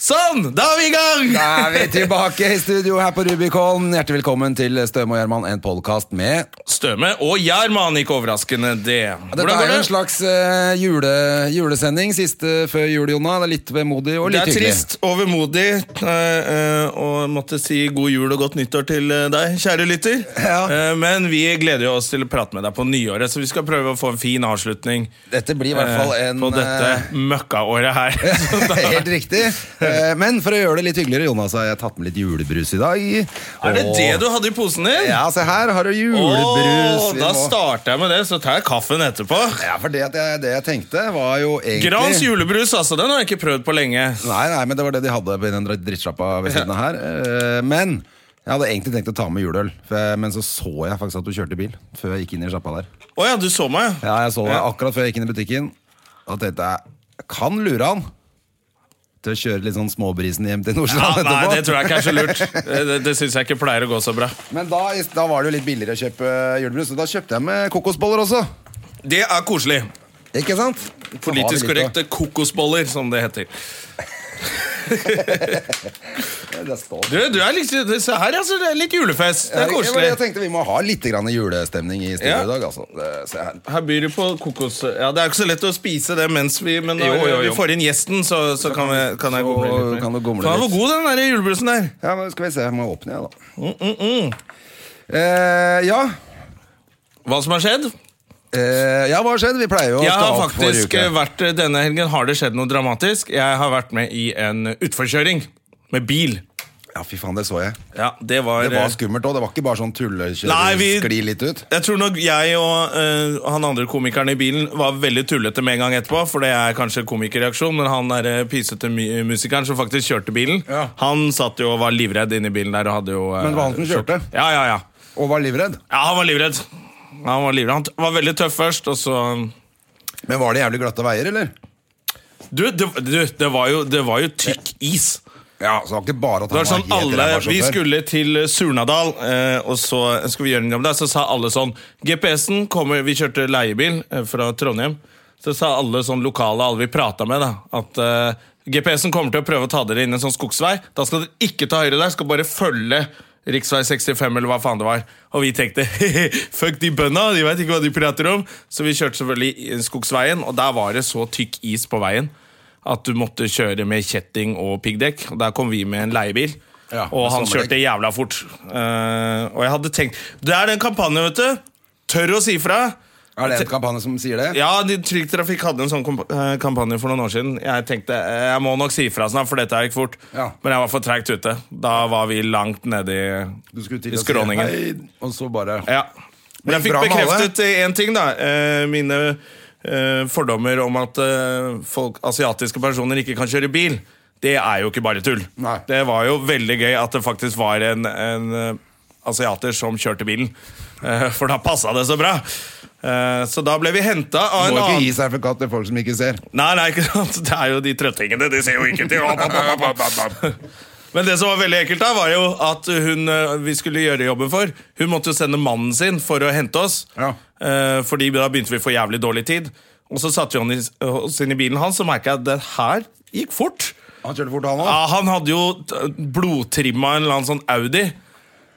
Sånn! Da er vi i gang! Da er vi tilbake i studio her på Rubicon. Hjertelig velkommen til Støme og Gjerman, en podkast med Støme og Gjerman, ikke overraskende det. Dette Hvordan er går jo det? en slags eh, jule, julesending, siste før jul, Jonna. Det er litt vemodig og Det er litt hyggelig. trist, overmodig, eh, eh, og måtte si god jul og godt nyttår til eh, deg, kjære lytter. Ja. Eh, Men vi gleder jo oss til å prate med deg på nyåret, så vi skal prøve å få en fin avslutning Dette blir i hvert fall eh, en på dette eh, møkkaåret her. Så da- Helt riktig. Eh, Men for å gjøre det litt hyggeligere, Jonas, har jeg tatt med litt julebrus i dag. Er det Og- det du hadde i posen din? Ja, se her har du julebrus. Åh, Vi da må- starter jeg med det, så tar jeg kaffen etterpå. ja, for det, at jeg- det jeg tenkte, var jo egentlig Grans julebrus, altså. Den har jeg ikke prøvd på lenge. Nei, nei, men det var det de hadde på den drittsjappa ved siden av her. Eh, Men jeg hadde egentlig tenkt å ta med juleøl, for jeg- men så så jeg faktisk at du kjørte bil før jeg gikk inn i sjappa der. Å ja, du så meg, ja. Ja, jeg så det Ja. akkurat før jeg gikk inn i butikken. Da tenkte jeg jeg kan lure han til å kjøre litt sånn småbrisen hjem til Ja, Nordstrand nei, det tror jeg ikke er så lurt. Det, det, det syns jeg ikke pleier å gå så bra. Men da, da var det jo litt billigere å kjøpe julebrus, så da kjøpte jeg med kokosboller også. Det er koselig. Ikke sant? Så har vi litt Politisk å- korrekte kokosboller, som det heter. Det står Du, du er litt, det- se her, altså. Det er litt julefest. Det er Jeg, jeg koselig. tenkte Vi må ha litt grann julestemning i studio Ja. i dag. Altså. Det- Se her. Her byr du på kokos... Ja, Det er jo ikke så lett å spise det mens vi Men Jo, når jo, jo. vi får inn gjesten, så, så kan, vi, kan jeg så gomle litt. mer. kan du gomle Faen, litt. Hvor god den der julebrusen der. Ja, men skal vi se, jeg må åpne jeg da Mm, Eh, ja. Hva som har skjedd? Eh, ja, hva har skjedd? Vi pleier jo å Jeg stå har opp forrige faktisk eh, uke vært Denne helgen har det skjedd noe dramatisk. Jeg har vært med i en utforkjøring med bil. Ja, fy faen, det så jeg Ja, det var, Det var skummelt også, det var ikke bare sånn tullekjøring Nei, vi- Skli litt ut Jeg tror nok jeg og eh, han andre komikeren i bilen var veldig tullete med en gang etterpå, for det er kanskje komikerreaksjon, men han der eh, pysete mu- musikeren som faktisk kjørte bilen, Ja. han satt jo og var livredd inne i bilen der og hadde jo eh, Men det var han som kjørte? Ja, ja, ja. Og var livredd Ja, han var livredd. Han var livredd. Han t- var veldig tøff først, og så Men var det jævlig glatte veier, eller? Du, det, du, det, var, jo, det var jo tykk is. Ja, så det var ikke bare at Det var han sånn helt alle, ræva Vi sjåfør. skulle til eh, Surnadal, eh, og så skulle vi gjøre en jobb der. Så sa alle sånn GPS-en kommer Vi kjørte leiebil eh, fra Trondheim. Så sa alle sånn lokale, alle vi prata med, da, at eh, GPS-en kommer til å prøve å ta dere inn en sånn skogsvei. Da skal dere ikke ta høyre der, skal bare følge Riksvei 65, eller hva faen det var. Og vi tenkte fuck de bønda, de veit ikke hva de prater om. Så vi kjørte selvfølgelig i skogsveien, og der var det så tykk is på veien at du måtte kjøre med kjetting og piggdekk. Og der kom vi med en leiebil. Ja, og med han sommerdekk. kjørte jævla fort. Eh, og jeg hadde tenkt Det er den kampanjen, vet du. Tør å si fra. Er det en kampanje som sier det? Ja, de- Trygg Trafikk hadde en sånn komp- eh, kampanje for noen år siden. Jeg tenkte eh, jeg må nok si fra snart, for dette her gikk fort. Ja. Men jeg var for treigt ute. Da var vi langt nede Du i, skulle til i å si skråningen. hei, Og så bare Ja. Men jeg gikk fikk bra med bekreftet én ting, da. Eh, Mine eh, fordommer om at eh, folk, asiatiske personer ikke kan kjøre bil. Det er jo ikke bare tull. Nei. Det var jo veldig gøy at det faktisk var en, en eh, asiater som kjørte bilen. Eh, For da passa det så bra. Eh, Så da ble vi henta av Må en ikke annen gi seg for katt til folk som ikke ser Nei, nei, ikke sant? Det er jo de trøttingene. De ser jo ikke til. Opp, opp, opp, opp, opp. Men det som var veldig ekkelt, da, var jo at hun eh, vi skulle gjøre jobben for. Hun måtte jo sende mannen sin for å hente oss. Ja. Eh, Fordi da begynte vi å få jævlig dårlig tid. Og så satte vi han i- eh, oss inn i bilen hans, og merka jeg at det her gikk fort. Han kjørte fort han også Ja, han hadde jo t- blodtrimma en eller annen sånn Audi.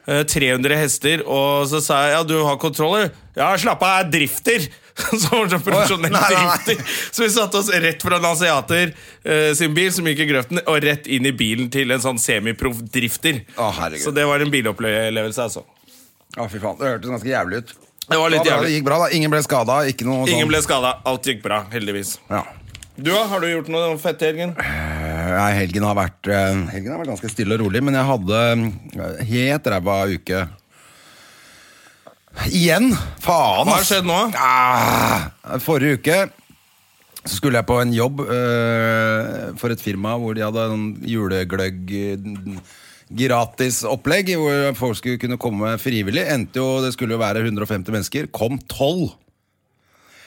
Eh, 300 hester, og så sa jeg ja, du har kontroller. Ja, slapp av, jeg er drifter! Så var det sånn profesjonell Å, nei, nei, nei. drifter. Så vi satte oss rett fra en asiater eh, sin bil, som gikk i grøften, og rett inn i bilen til en sånn semiproff drifter. Å, herregud. så det var en bilopplevelse, altså. Ja, fy faen, det hørtes ganske jævlig ut Det var litt Ja, Det jævlig. gikk bra da, ingen ble skada Ikke noe sånn Ingen ble skada. Alt gikk bra, heldigvis. ja. Du, da? Har du gjort noe fett i helgen? Nei, helgen har vært eh, Helgen har vært ganske stille og rolig, men jeg hadde eh, helt ræva uke. Igjen! Faen, Hva har ass. skjedd nå? Ah, forrige uke så skulle jeg på en jobb eh, for et firma hvor de hadde en julegløgg eh, Gratis opplegg hvor folk skulle kunne komme frivillig. Endte jo, Det skulle jo være 150 mennesker. Kom tolv!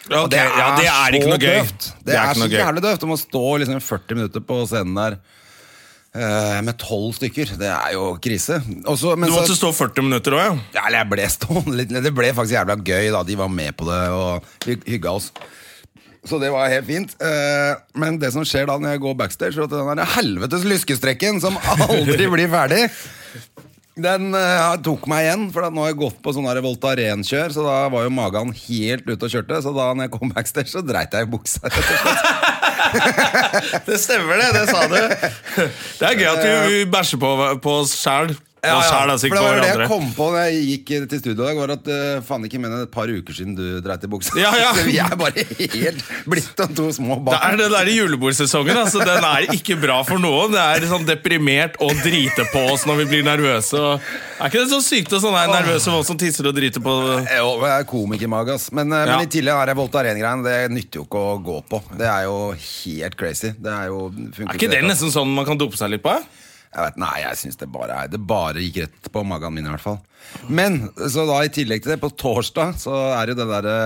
Ok, Og ja, det er ikke så noe gøy. Døvt. Det, er, ikke så noe gøy. jævlig døvt om å stå liksom 40 minutter på scenen der eh, med tolv stykker. Det er jo krise. Og så- men Du måtte så, stå 40 minutter òg, ja? ja, eller jeg ble stående litt Det ble faktisk jævla gøy, da. De var med på det, og vi hygga oss. Så det var helt fint. Eh, Men det som skjer da når jeg går backstage, er at den der helvetes lyskestrekken som aldri blir ferdig den eh, tok meg igjen, for at nå har jeg gått på sånn der Voltaren-kjør. Så da var jo magen helt ute og kjørte. Så da når jeg kom backstage, så dreit jeg i buksa. rett og slett. Det stemmer, det. Det sa du. Det er gøy at du bæsjer på, på oss sjæl. På oss sjæl, altså, for ikke det på var jo det jeg hverandre. kom på når jeg gikk til studio i dag, var at eh, faen ikke mener et par uker siden du dreit i buksa. Ja, ja. Så vi er bare helt blitt av to små Det barn. er den der julebordsesongen. Altså, den er ikke bra for noen. Det er sånn deprimert og drite på oss når vi blir nervøse. Og, er ikke det så sykt å sånn, nervøse folk som tisser og driter på Jo, men jeg er komikermage, ass. Men, eh, Ja. men i tillegg er det Voltaren-greien. Det nytter jo ikke å gå på. Det er jo helt crazy. Det er jo funker Er ikke det ikke. nesten sånn man kan dope seg litt på? Jeg vet, nei, jeg syns det bare er Det bare gikk rett på magen min, i hvert fall. Men så da i tillegg til det, på torsdag så er det det derre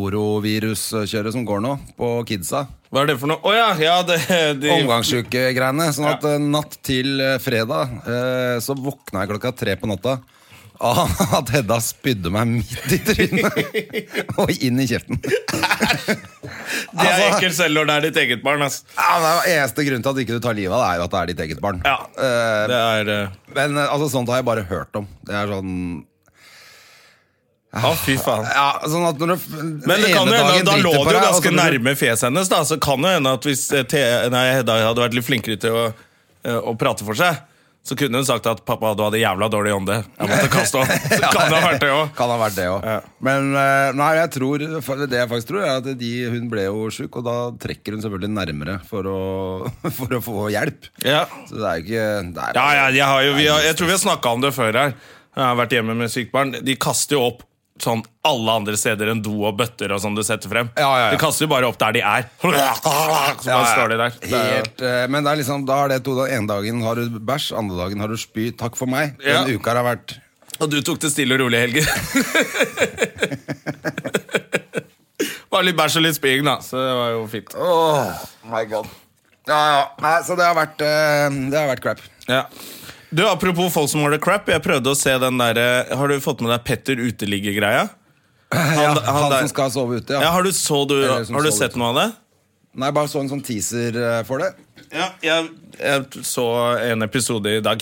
norovirus-kjøret som går nå, på kidsa. Hva er det for noe? Å ja, ja, det, de, Omgangssjuke-greiene. Sånn at eh, natt til eh, fredag eh, så våkna jeg klokka tre på natta av at Hedda spydde meg midt i trynet og inn i kjeften. det er Altså- ekkelt selv når det er ditt eget barn. ass. Ja, det er jo Eneste grunnen til at ikke du tar livet av det, er jo at det er ditt eget barn. Ja, Eh, det er eh, men eh, altså, sånt har jeg bare hørt om. Det er sånn eh, Å, fy faen. ja, sånn at når du den Men det kan ene jo hende, dagen da lå driter på det jo deg, og ganske så når du- nærme fjeset hennes, da, så kan det hende at hvis eh, T nei, Hedda hadde vært litt flinkere til å, eh, å prate for seg, så kunne hun sagt at 'pappa, du hadde jævla dårlig ånde'. Jeg måtte kaste opp. Så kan det ha vært det òg. Kan ha vært det også. Ja. Men eh, nei, jeg tror, det jeg faktisk tror, er at de, hun ble jo sjuk, og da trekker hun selvfølgelig nærmere for å, for å få hjelp. Ja. Så det er jo ikke det er, Ja, ja, jeg, har jo, vi har, jeg tror vi har snakka om det før her. Jeg har vært hjemme med sykt barn. De kaster jo opp sånn alle andre steder enn do og bøtter og sånn du setter frem. Ja, ja, ja. De kaster jo bare opp der de er. Så Ja, bare ja. står de der. Det er- Helt, eh, men det er liksom, da er det to da, En dagen har du bæsj, andre dagen har du spy. Takk for meg. Ja. Den uka har vært Og du tok det stille og rolig, Helge. Bare litt bæsj og litt spying, da. Så det var jo fint. Åh, my god. Ja, ja. Nei, så det har vært, eh, det har vært crap. Ja. Du, Apropos folk som har det crap. Jeg prøvde å se den der, eh, Har du fått med deg Petter uteligger-greia? Han, ja, han han, der- som skal sove ute, ja. Ja, har du, så du, Eller som har du så sett ute. noe av det? Nei, bare så en sånn teaser eh, for det. Ja, jeg, jeg så en episode i dag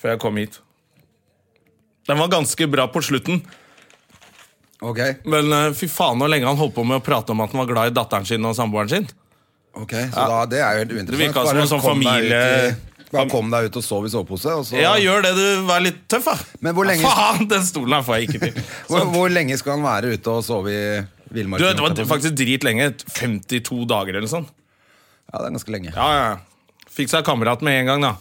før jeg kom hit. Den var ganske bra på slutten, Ok, men eh, fy faen hvor lenge han holdt på med å prate om at han var glad i datteren sin og samboeren sin. ok, Så da, det er jo helt uinteressant. Det virka som Bare en sånn kom deg familie- ut i- Bare kom deg ut og sov i sovepose. Og så, Ja, gjør det. Du vær litt tøff, da. Men hvor lenge- ja, faen, den stolen her får jeg ikke til. hvor, hvor lenge skal han være ute og sove i Du, villmarken? det var faktisk dritlenge. 52 dager eller sånn. Ja, det er ganske lenge. Ja, ja, ja. Fikk seg kamerat med en gang, da.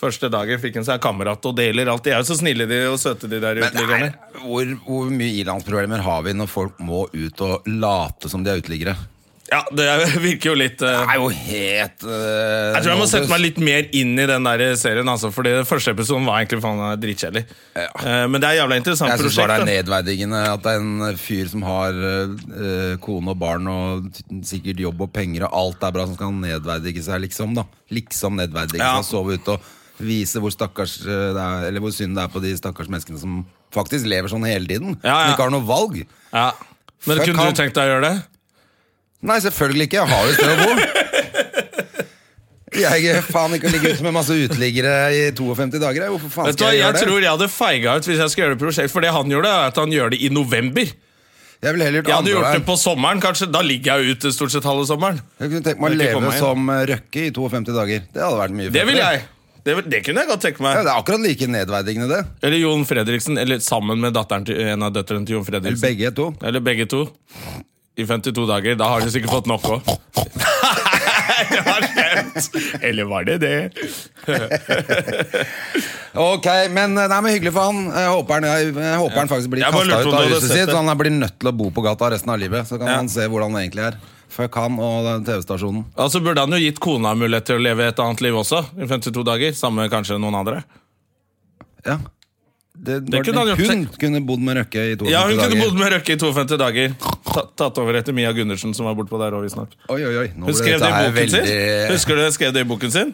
Første dagen fikk han seg kamerat og deler alt. De er jo så snille de og søte, de der liksom. uteliggerne. Hvor, hvor mye ilandsproblemer har vi når folk må ut og late som de er uteliggere? Ja, det er- virker jo litt eh, Det er jo helt eh, Jeg tror jeg må sette meg nådeløst. litt mer inn i den der serien, altså. Fordi den første episoden var egentlig faen meg dritkjedelig. Eh, Men det er et jævla interessant Jeg syns bare det er prosjekt. da. nedverdigende at det er en fyr som har eh, eh, kone og barn og t- sikkert jobb og penger og alt er bra, som skal nedverdige seg, liksom. da Liksom nedverdige Ja. seg og sove ute og vise hvor stakkars eh, det er, Eller hvor synd det er på de stakkars menneskene som faktisk lever sånn hele tiden. Ja, ja. Som ikke har noe valg. Ja. Men Fuck kunne han. du tenkt deg å gjøre det? Nei, selvfølgelig ikke. Jeg har jo et sted å bo. Jeg gir faen ikke å ligge ute med masse uteliggere i 52 dager. jeg. Hvorfor faen Vet du hva, skal jeg Jeg gjøre det? tror jeg hadde feiga ut hvis jeg skulle gjøre det prosjekt. For det han gjorde, er at han gjør det i november. Jeg ville heller gjort Jeg hadde andre gjort det veien. på sommeren, kanskje. Da ligger jeg ute stort sett halve sommeren. Jeg kunne tenkt meg å Det er ikke for leve meg, da. som eh, Røkke i 52 dager. Det hadde vært mye Det vil fettere. jeg. Det, vil- det kunne jeg godt tenke Ja, meg. det er akkurat like nedverdigende, det. Eller Jon Fredriksen, eller sammen med datteren til, en av døtrene til Jon Eller Fredriksen. begge to. Eller begge to. I 52 dager. Da har du sikkert fått nok òg. Det var slemt! Eller var det det? Ok, men eh, nei, men hyggelig for han. Jeg håper han, jeg, jeg håper han faktisk blir Jeg bare kasta lurte om ut du av hadde huset sett sitt. det. Så han blir nødt til å bo på gata resten av livet. Så kan Ja. han se hvordan det egentlig er. Fuck han og den TV-stasjonen. Altså burde han jo gitt kona mulighet til å leve et annet liv også. I 52 dager. Samme kanskje noen andre. Ja. Det, Det kunne han gjort. hun kunne bodd med Røkke i 52 Ja, hun dager. kunne bodd med Røkke i 52 dager. Ta, tatt over etter Mia Gundersen, som var bortpå der òg, visstnok. Oi, oi, oi. Hun Nå ble skrev det dette i her boken sin. Husker du hun skrev det i boken sin?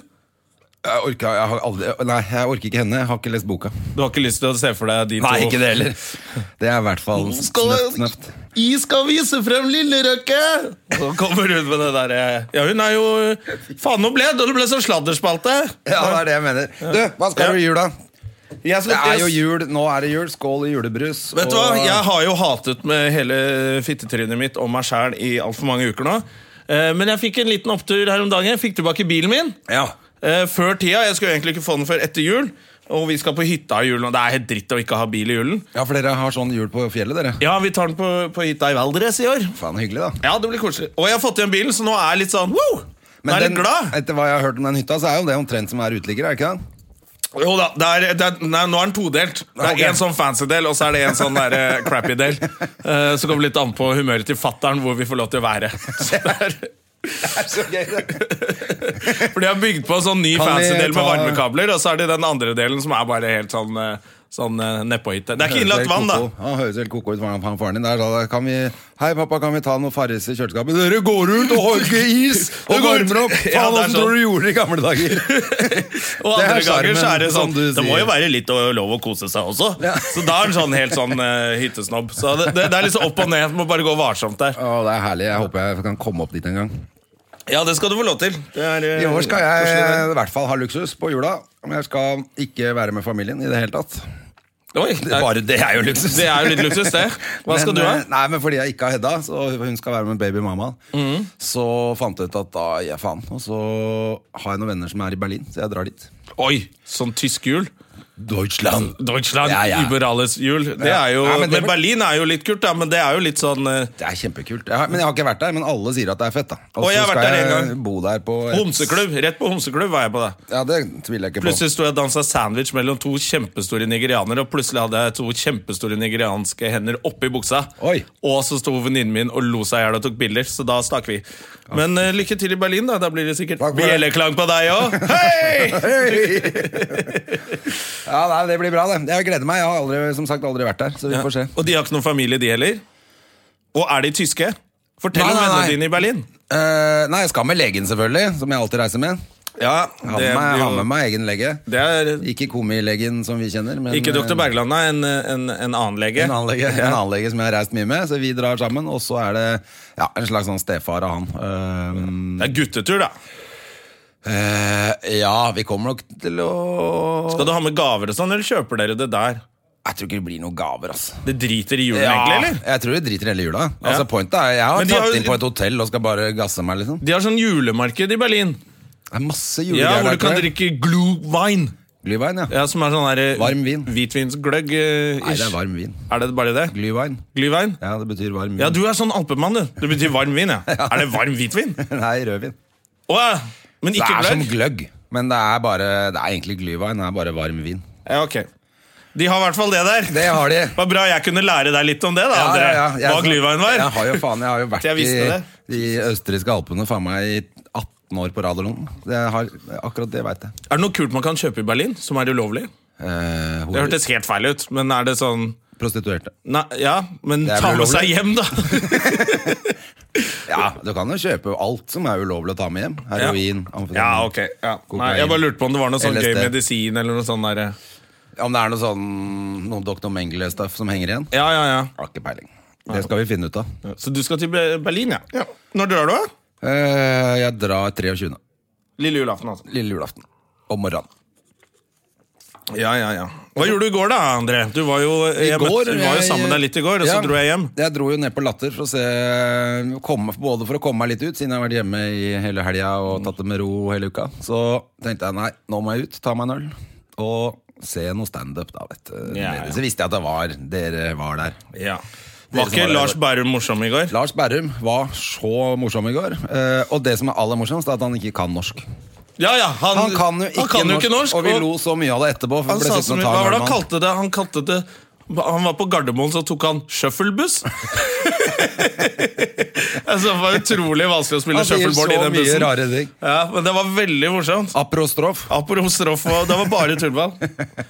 Jeg orker, jeg har aldri, nei, jeg orker ikke henne. Jeg har ikke lest boka. Du har ikke lyst til å se for deg de to? det heller. Det er i hvert fall snøft, snøft. Jeg skal vise frem Lillerøkke! Så kommer hun med det derre Ja, hun er jo Faen, nå ble det! Det ble så sladderspalte! Ja, det er det jeg mener. Du, hva skal Ja. du i jula? Jeg skal- Det er jo jeg- jul. Nå er det jul. Skål i julebrus. Vet du hva, og- Jeg har jo hatet med hele fittetrynet mitt og meg sjæl i altfor mange uker nå. Eh, Men jeg fikk en liten opptur her om dagen. Jeg fikk tilbake bilen min Ja. eh, før tida. Jeg skulle egentlig ikke få den før etter jul. Og vi skal på hytta i julen, og det er helt dritt å ikke ha bil i julen. ja, for dere har sånn jul på fjellet, dere. Ja, vi tar den på, på hytta i Valdres i år. Faen, hyggelig, da. Ja, det blir koselig. Og jeg har fått igjen bilen, så nå er jeg litt sånn wow! Nå er jeg litt den, glad. etter hva jeg har hørt om den hytta, så er jo det omtrent som er uteligger, er det ikke det? Jo da, det er, det er, nei, nå er den todelt. Det Ok. er én sånn fancy del, og så er det en sånn der, eh, crappy del. Eh, så kommer det litt an på humøret til fattern hvor vi får lov til å være. Så det er, Det er så gøy, det. for de har bygd på en sånn ny Kan vi fancy del med ta- varmekabler, og så er det den andre delen som er bare helt sånn, eh, sånn eh, nedpåhytte. Det er ikke innlagt vann, da. Han høres helt koko ut, faren, han faren din. Der sa det, kan vi, Hei, pappa, kan vi ta noe Farris i kjøleskapet? Dere går ut og har ikke is! Det Og går ut. varmer opp! Faen, Ja, det er sånn. åssen tror du du gjorde det i gamle dager? Og Det er andre ganger så sjarmen, er det som sånn du Det må sier. jo være litt å- lov å kose seg også. Ja. Så da er han sånn helt sånn eh, hyttesnobb. Så det, det, det er liksom opp og ned. Må bare gå varsomt der. Å, det er herlig. Jeg håper jeg kan komme opp dit en gang. Ja, det skal du få lov til. Det er, eh, I år skal koselig, jeg i hvert fall ha luksus på jula. Men jeg skal ikke være med familien i det hele tatt. det. Oi, det, er, Bare det er jo luksus. det er jo litt luksus, det. Hva skal men, du ha? eh, Nei, men Fordi jeg ikke har Hedda, så hun skal være med babymammaen. Mhm. Så fant jeg ut at da gir jeg faen. Og så har jeg noen venner som er i Berlin, så jeg drar dit. Oi, sånn tysk jul. Deutschland! Deutschland, Ja, ja. liberales jul. Det Ja. er jo, Ja, men, men det- Berlin er jo litt kult, da, men det er jo litt sånn eh, Det er kjempekult. Jeg har, men jeg har ikke vært der, men alle sier at det er fett. da Og jeg har så vært der en jeg bo der på et- homseklubb. Rett på homseklubb var jeg på det. Ja, det tviler jeg ikke på. Plutselig sto jeg og dansa sandwich mellom to kjempestore nigerianere, og plutselig hadde jeg to kjempestore nigerianske hender oppi buksa. Oi. Og så sto venninnen min og lo seg i hjel og tok bilder, så da stakk vi. Men eh, lykke til i Berlin, da. Da blir det sikkert Takk for det. bjelleklang på deg òg. Hei! Ja, nei, Det blir bra, det. Jeg gleder meg. Jeg har aldri, som sagt aldri vært der, så vi får se. Og de har ikke noen familie, de heller. Og er de tyske? Fortell Nei, om nei, vennene nei. dine i Berlin. Eh, nei, jeg skal med legen, selvfølgelig, som jeg alltid reiser med. Ja, Jeg har med meg, jeg har med meg egen lege. det er Ikke komilegen som vi kjenner, men ikke eh, dr. Bergland, nei. En, en, en annen lege. En annen, lege, en annen lege som jeg har reist mye med, så vi drar sammen. Og så er det ja, en slags sånn stefar av han. Ehm, Det er guttetur, da. eh, ja, vi kommer nok til å Skal du ha med gaver og sånn, eller kjøper dere det der? Jeg tror ikke det blir noen gaver, altså. Det driter i julen, Ja, egentlig, eller? jeg tror det driter hele jula. Altså, pointet er, Men Jeg har de har tatt jo- inn på et hotell og skal bare gasse meg, liksom. De har sånn julemarked i Berlin. Det er Ja, masse julegreier Hvor der. du kan tror jeg. drikke glue wine. Glühwein, ja. Ja, som er sånn der, eh, Varm vin. Hvitvinsgløgg. eh, Nei, det er varm vin. Er det bare det? Glühwein. Glühwein? Ja, det betyr varm vin. Ja, du er sånn alpemann, du. Det betyr varm vin, ja. Er det varm hvitvin? Nei, rødvin. Å ja! Men Det ikke er som gløgg? gløgg, men det er, bare, det er egentlig glühwein. Det er bare varm vin. Ja, ok. De har i hvert fall det der. Det har de. Det var bra jeg kunne lære deg litt om det, da, André. Jeg- Hva glühwein var. Jeg har jo, faen, jeg har jo vært Jeg visste i det. de østerrikske alpene faen meg i 18 år på rad eller noe. Det har- Akkurat det veit jeg. Er det noe kult man kan kjøpe i Berlin som er ulovlig? Eh, Det horer, hørtes helt feil ut, men er det sånn prostituerte. Nei, ja, men Det er ta med ulovlig. seg hjem, da! Ja, Du kan jo kjøpe alt som er ulovlig å ta med hjem. Heroin, amfetamin Ja, ok. Ja. Nei, jeg bare lurte på om det var noe sånn LSD. gøy medisin eller noe sånn derre Om det er noe sånn noe Dr. Mengele-stuff som henger igjen? Ja, ja, ja. Har ikke peiling. Det skal vi finne ut av. Så du skal til Be- Berlin, ja? Når drar du? da? Eh, jeg drar 23. Lille julaften, altså. lille julaften. Om morgenen. Ja, ja, ja. Hva gjorde du i går, da, André? Du var jo, jeg møtte, du var jo jeg- sammen med deg litt i går, og så Ja, dro jeg hjem. Jeg dro jo ned på Latter for å se komme, Både for å komme meg litt ut, siden jeg har vært hjemme i hele helga og tatt det med ro hele uka. Så tenkte jeg nei, nå må jeg ut, ta meg en øl. Og se noe standup, da, vet du. Ja, ja. Så visste jeg at det var dere var der. Ja. Dere Var som ikke var der i Lars går. Bærum morsom i går? Lars Berrum var så morsom i går. Eh, og det som er aller morsomst, er at han ikke kan norsk. Ja, ja, han, Han kan jo ikke, han kan jo ikke norsk. og vi lo så mye av det etterpå. For Han vi ble sa som, sittende og hva var det ta en øl han med kalte det? Han kalte det han var på Gardermoen, så tok han shufflebuss. Altså, det var utrolig vanskelig å spille Han sier shuffleboard i så den mye bussen. rare ting. Ja, men det var veldig morsomt. Aprostrof. Apropos stroff, og det var bare tullball.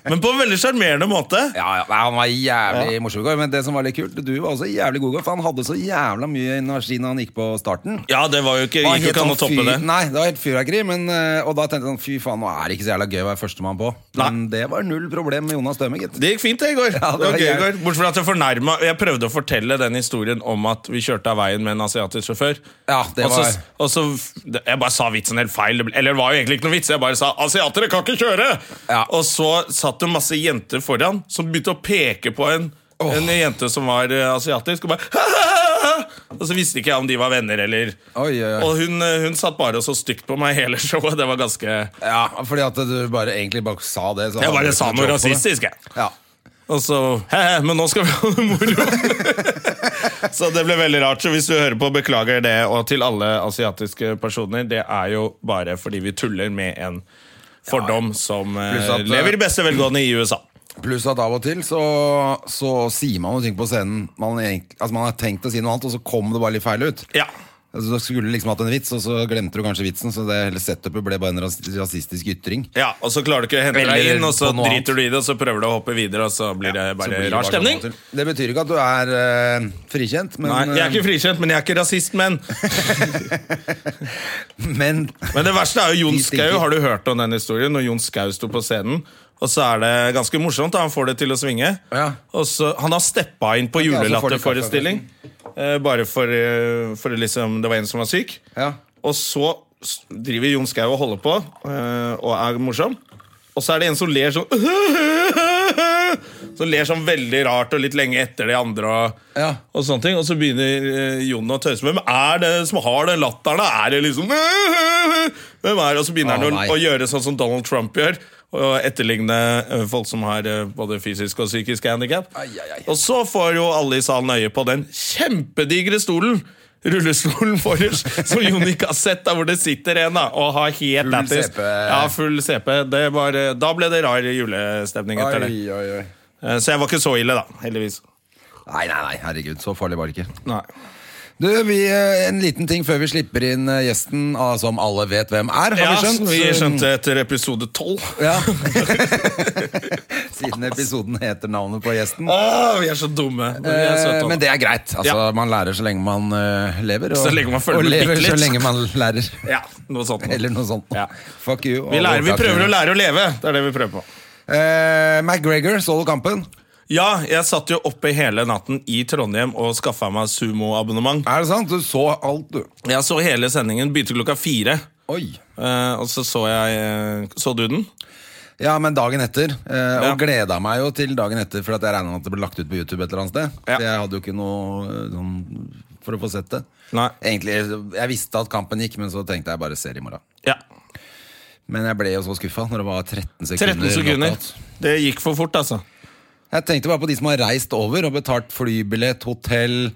Men på en veldig sjarmerende måte. Ja, ja, nei, han var jævlig morsom i går, men det som var litt kult, du var også jævlig god i går, for han hadde så jævla mye energi når han gikk på starten. Ja, det var jo ikke, Det var gikk jo helt ikke an å sånn toppe fyr- det. Nei, det var helt fyrverkeri, men, eh, og da tenkte jeg sånn, fy faen, nå er det ikke så jævla gøy å være førstemann på. Men det var null problem med Jonas Døme, gitt. Det gikk fint det i går. Ja, det det var var gøy i jævlig. går. Bortsett fra at jeg fornærma Jeg prøvde å fortelle den historien om at vi kjørte av veien med en asiatisk sjåfør. Ja, det Og så- var- Og så det- Jeg bare sa vitsen helt feil. Det ble- Eller det var jo egentlig ikke noe vits. Jeg bare sa 'asiatere kan ikke kjøre'! Ja. Og så satt det masse jenter foran som begynte å peke på en, Åh. en jente som var eh, asiatisk, og bare «Hahaha!» Og så visste ikke jeg om de var venner eller Oi, oi, oi. Og hun, eh, hun satt bare og så stygt på meg hele showet. Det var ganske Ja, fordi at du bare, egentlig bare sa det. så Jeg hadde bare du sa ikke noe kontroll på det. rasistisk, jeg. Ja. Og så Hæ, hæ, men nå skal vi ha det moro! så det ble veldig rart. Så hvis du hører på, beklager det. Og til alle asiatiske personer, det er jo bare fordi vi tuller med en fordom som eh, Pluss at, eh, lever i beste velgående i USA. Pluss at av og til så, så sier man noen ting på scenen man, egentlig, altså man har tenkt å si noe annet, og så kom det bare litt feil ut. Ja. Altså, du skulle liksom hatt en vits, og så glemte du kanskje vitsen, så det hele setupet ble bare en ras rasistisk ytring. ja, Og så klarer du ikke å hente deg Eller inn, og så på noe annet. driter du i det, og så prøver du å hoppe videre, og så blir det Så Eh, bare blir det rar bare stemning. sånn av og til. Det betyr ikke at du er eh, frikjent, men, Nei, jeg er ikke frikjent, men jeg er ikke rasist, men eh, men Men det verste er jo Jon De stinker. Skau. Har du hørt om den historien? Når Jon Skau sto på scenen, og så er det ganske morsomt. da, Han får det til å svinge. Ja. Og så, han har steppa inn på Ok, altså får de julelatterforestilling. eh, bare for, eh, for liksom, det var en som var syk. Ja. Og så s- driver Jon Skau og holder på eh, og er morsom. Og så er det en som ler sånn Som ler sånn veldig rart og litt lenge etter de andre. Og, Ja. og sånne ting Og så begynner eh, Jon å tøyse med Hvem er det som har den latteren? da? Er det liksom Hvem er det? Og så begynner Å, han nei. å, å gjøre sånn som Donald Trump gjør. Og etterligne eh, folk som har eh, både fysisk og psykisk handikap. Ai, ai, ai. Og så får jo alle i salen øye på den kjempedigre stolen. Rullestolen forrest, som Jon ikke har sett, da, hvor det sitter en da, og har helt Full lættis. CP. Ja, full CP. Det var, eh, da ble det rar julestemning etter det. oi, oi. Eh, Så jeg var ikke så ille, da. Heldigvis. Nei, nei, nei, herregud, så farlig var det ikke. Nei. Du, vi, eh, En liten ting før vi slipper inn eh, gjesten, ah, som alle vet hvem er, har Ja, vi skjønt? vi skjønte etter episode tolv. Ja. Siden episoden heter navnet på gjesten. Åh, vi er så dumme. Men, vi er søte, Eh, Men da. det er greit. Altså, Ja. Man lærer så lenge man eh, lever. Og, Så lenge man følger og med lever bitte litt. så lenge man lærer. ja, noe sånt. Eller noe sånt. Ja. Fuck you. Vi, lærer, vi prøver å lære å leve. Det er det vi prøver på. Eh, McGregor, så du kampen? Ja, jeg satt jo oppe hele natten i Trondheim og skaffa meg sumoabonnement. Er det sant? Du så alt, du. Jeg så hele sendingen. Begynte klokka fire. Oi. eh, og så så jeg eh, Så du den? Ja, men dagen etter. eh, Ja. Og gleda meg jo til dagen etter, for at jeg regna med at det ble lagt ut på YouTube et eller annet sted. Ja. For Jeg hadde jo ikke noe eh, sånn, for å få sett det. Nei. Egentlig, Jeg visste at kampen gikk, men så tenkte jeg bare ser i morgen. Ja. Men jeg ble jo så skuffa når det var 13 13 sekunder. sekunder. knockout. Det gikk for fort, altså. Jeg tenkte bare på de som har reist over og betalt flybillett, hotell,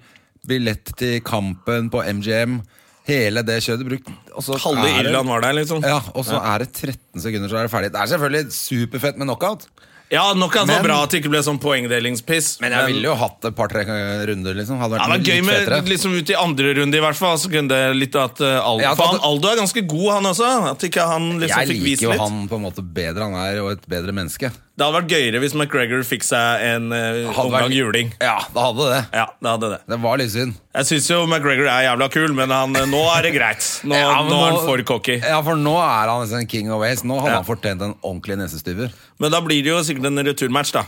billett til kampen på MGM. Hele det kjøret brukt. og så Halve er det- Irland var der, liksom. Ja, og så er det 13 sekunder, så er det ferdig. Det er selvfølgelig superfett med knockout. Ja, nok at det var Men- bra at det ikke ble sånn poengdelingspiss. Men jeg ville jo hatt et par-tre runder, liksom. Hadde vært Ja, det var gøy litt fetere. med liksom ut i andre runde, i hvert fall. Så kunne det litt at eh, Aldo Ja, at- For han, Aldo er ganske god, han også. At ikke han liksom Jeg fikk liker vist jo litt. han på en måte bedre. Han er jo et bedre menneske. Det hadde vært gøyere hvis McGregor fikk seg en eh, Hadde omgang vært- juling. Ja, det hadde det. Ja, det hadde det. Det var litt synd. Jeg syns jo McGregor er jævla kul, men han, eh, nå er det greit. Nå, Ja, men nå er han for cocky. Ja, for nå er han liksom king of ways. Nå hadde Ja. han fortjent en ordentlig nesestyver. Men da blir det jo sikkert en returmatch, da.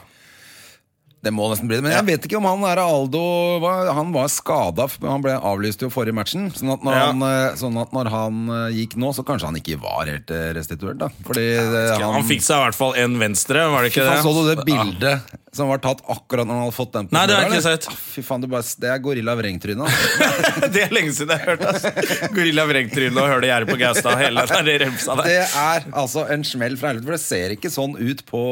Det må nesten bli det, men Ja. jeg vet ikke om han er Aldo hva- Han var skada, han ble avlyst jo forrige matchen. Sånn at, når Ja. han, eh, sånn at når han eh, gikk nå, så kanskje han ikke var helt eh, restituert. Da. Fordi eh, Han, han, fikk seg i hvert fall en venstre, var det ikke det? han så du det bildet som var tatt akkurat når han hadde fått den? på Nei, det har jeg bordet, ikke eller? sett. Ah, Fy faen, du bare, Det er gorilla vrengtryne. altså. det er lenge siden jeg har hørt. Altså. Gorilla vrengtryne og høle gjerde på Gaustad. Hele den der remsa der. Det er altså en smell fra helvete, for det ser ikke sånn ut på,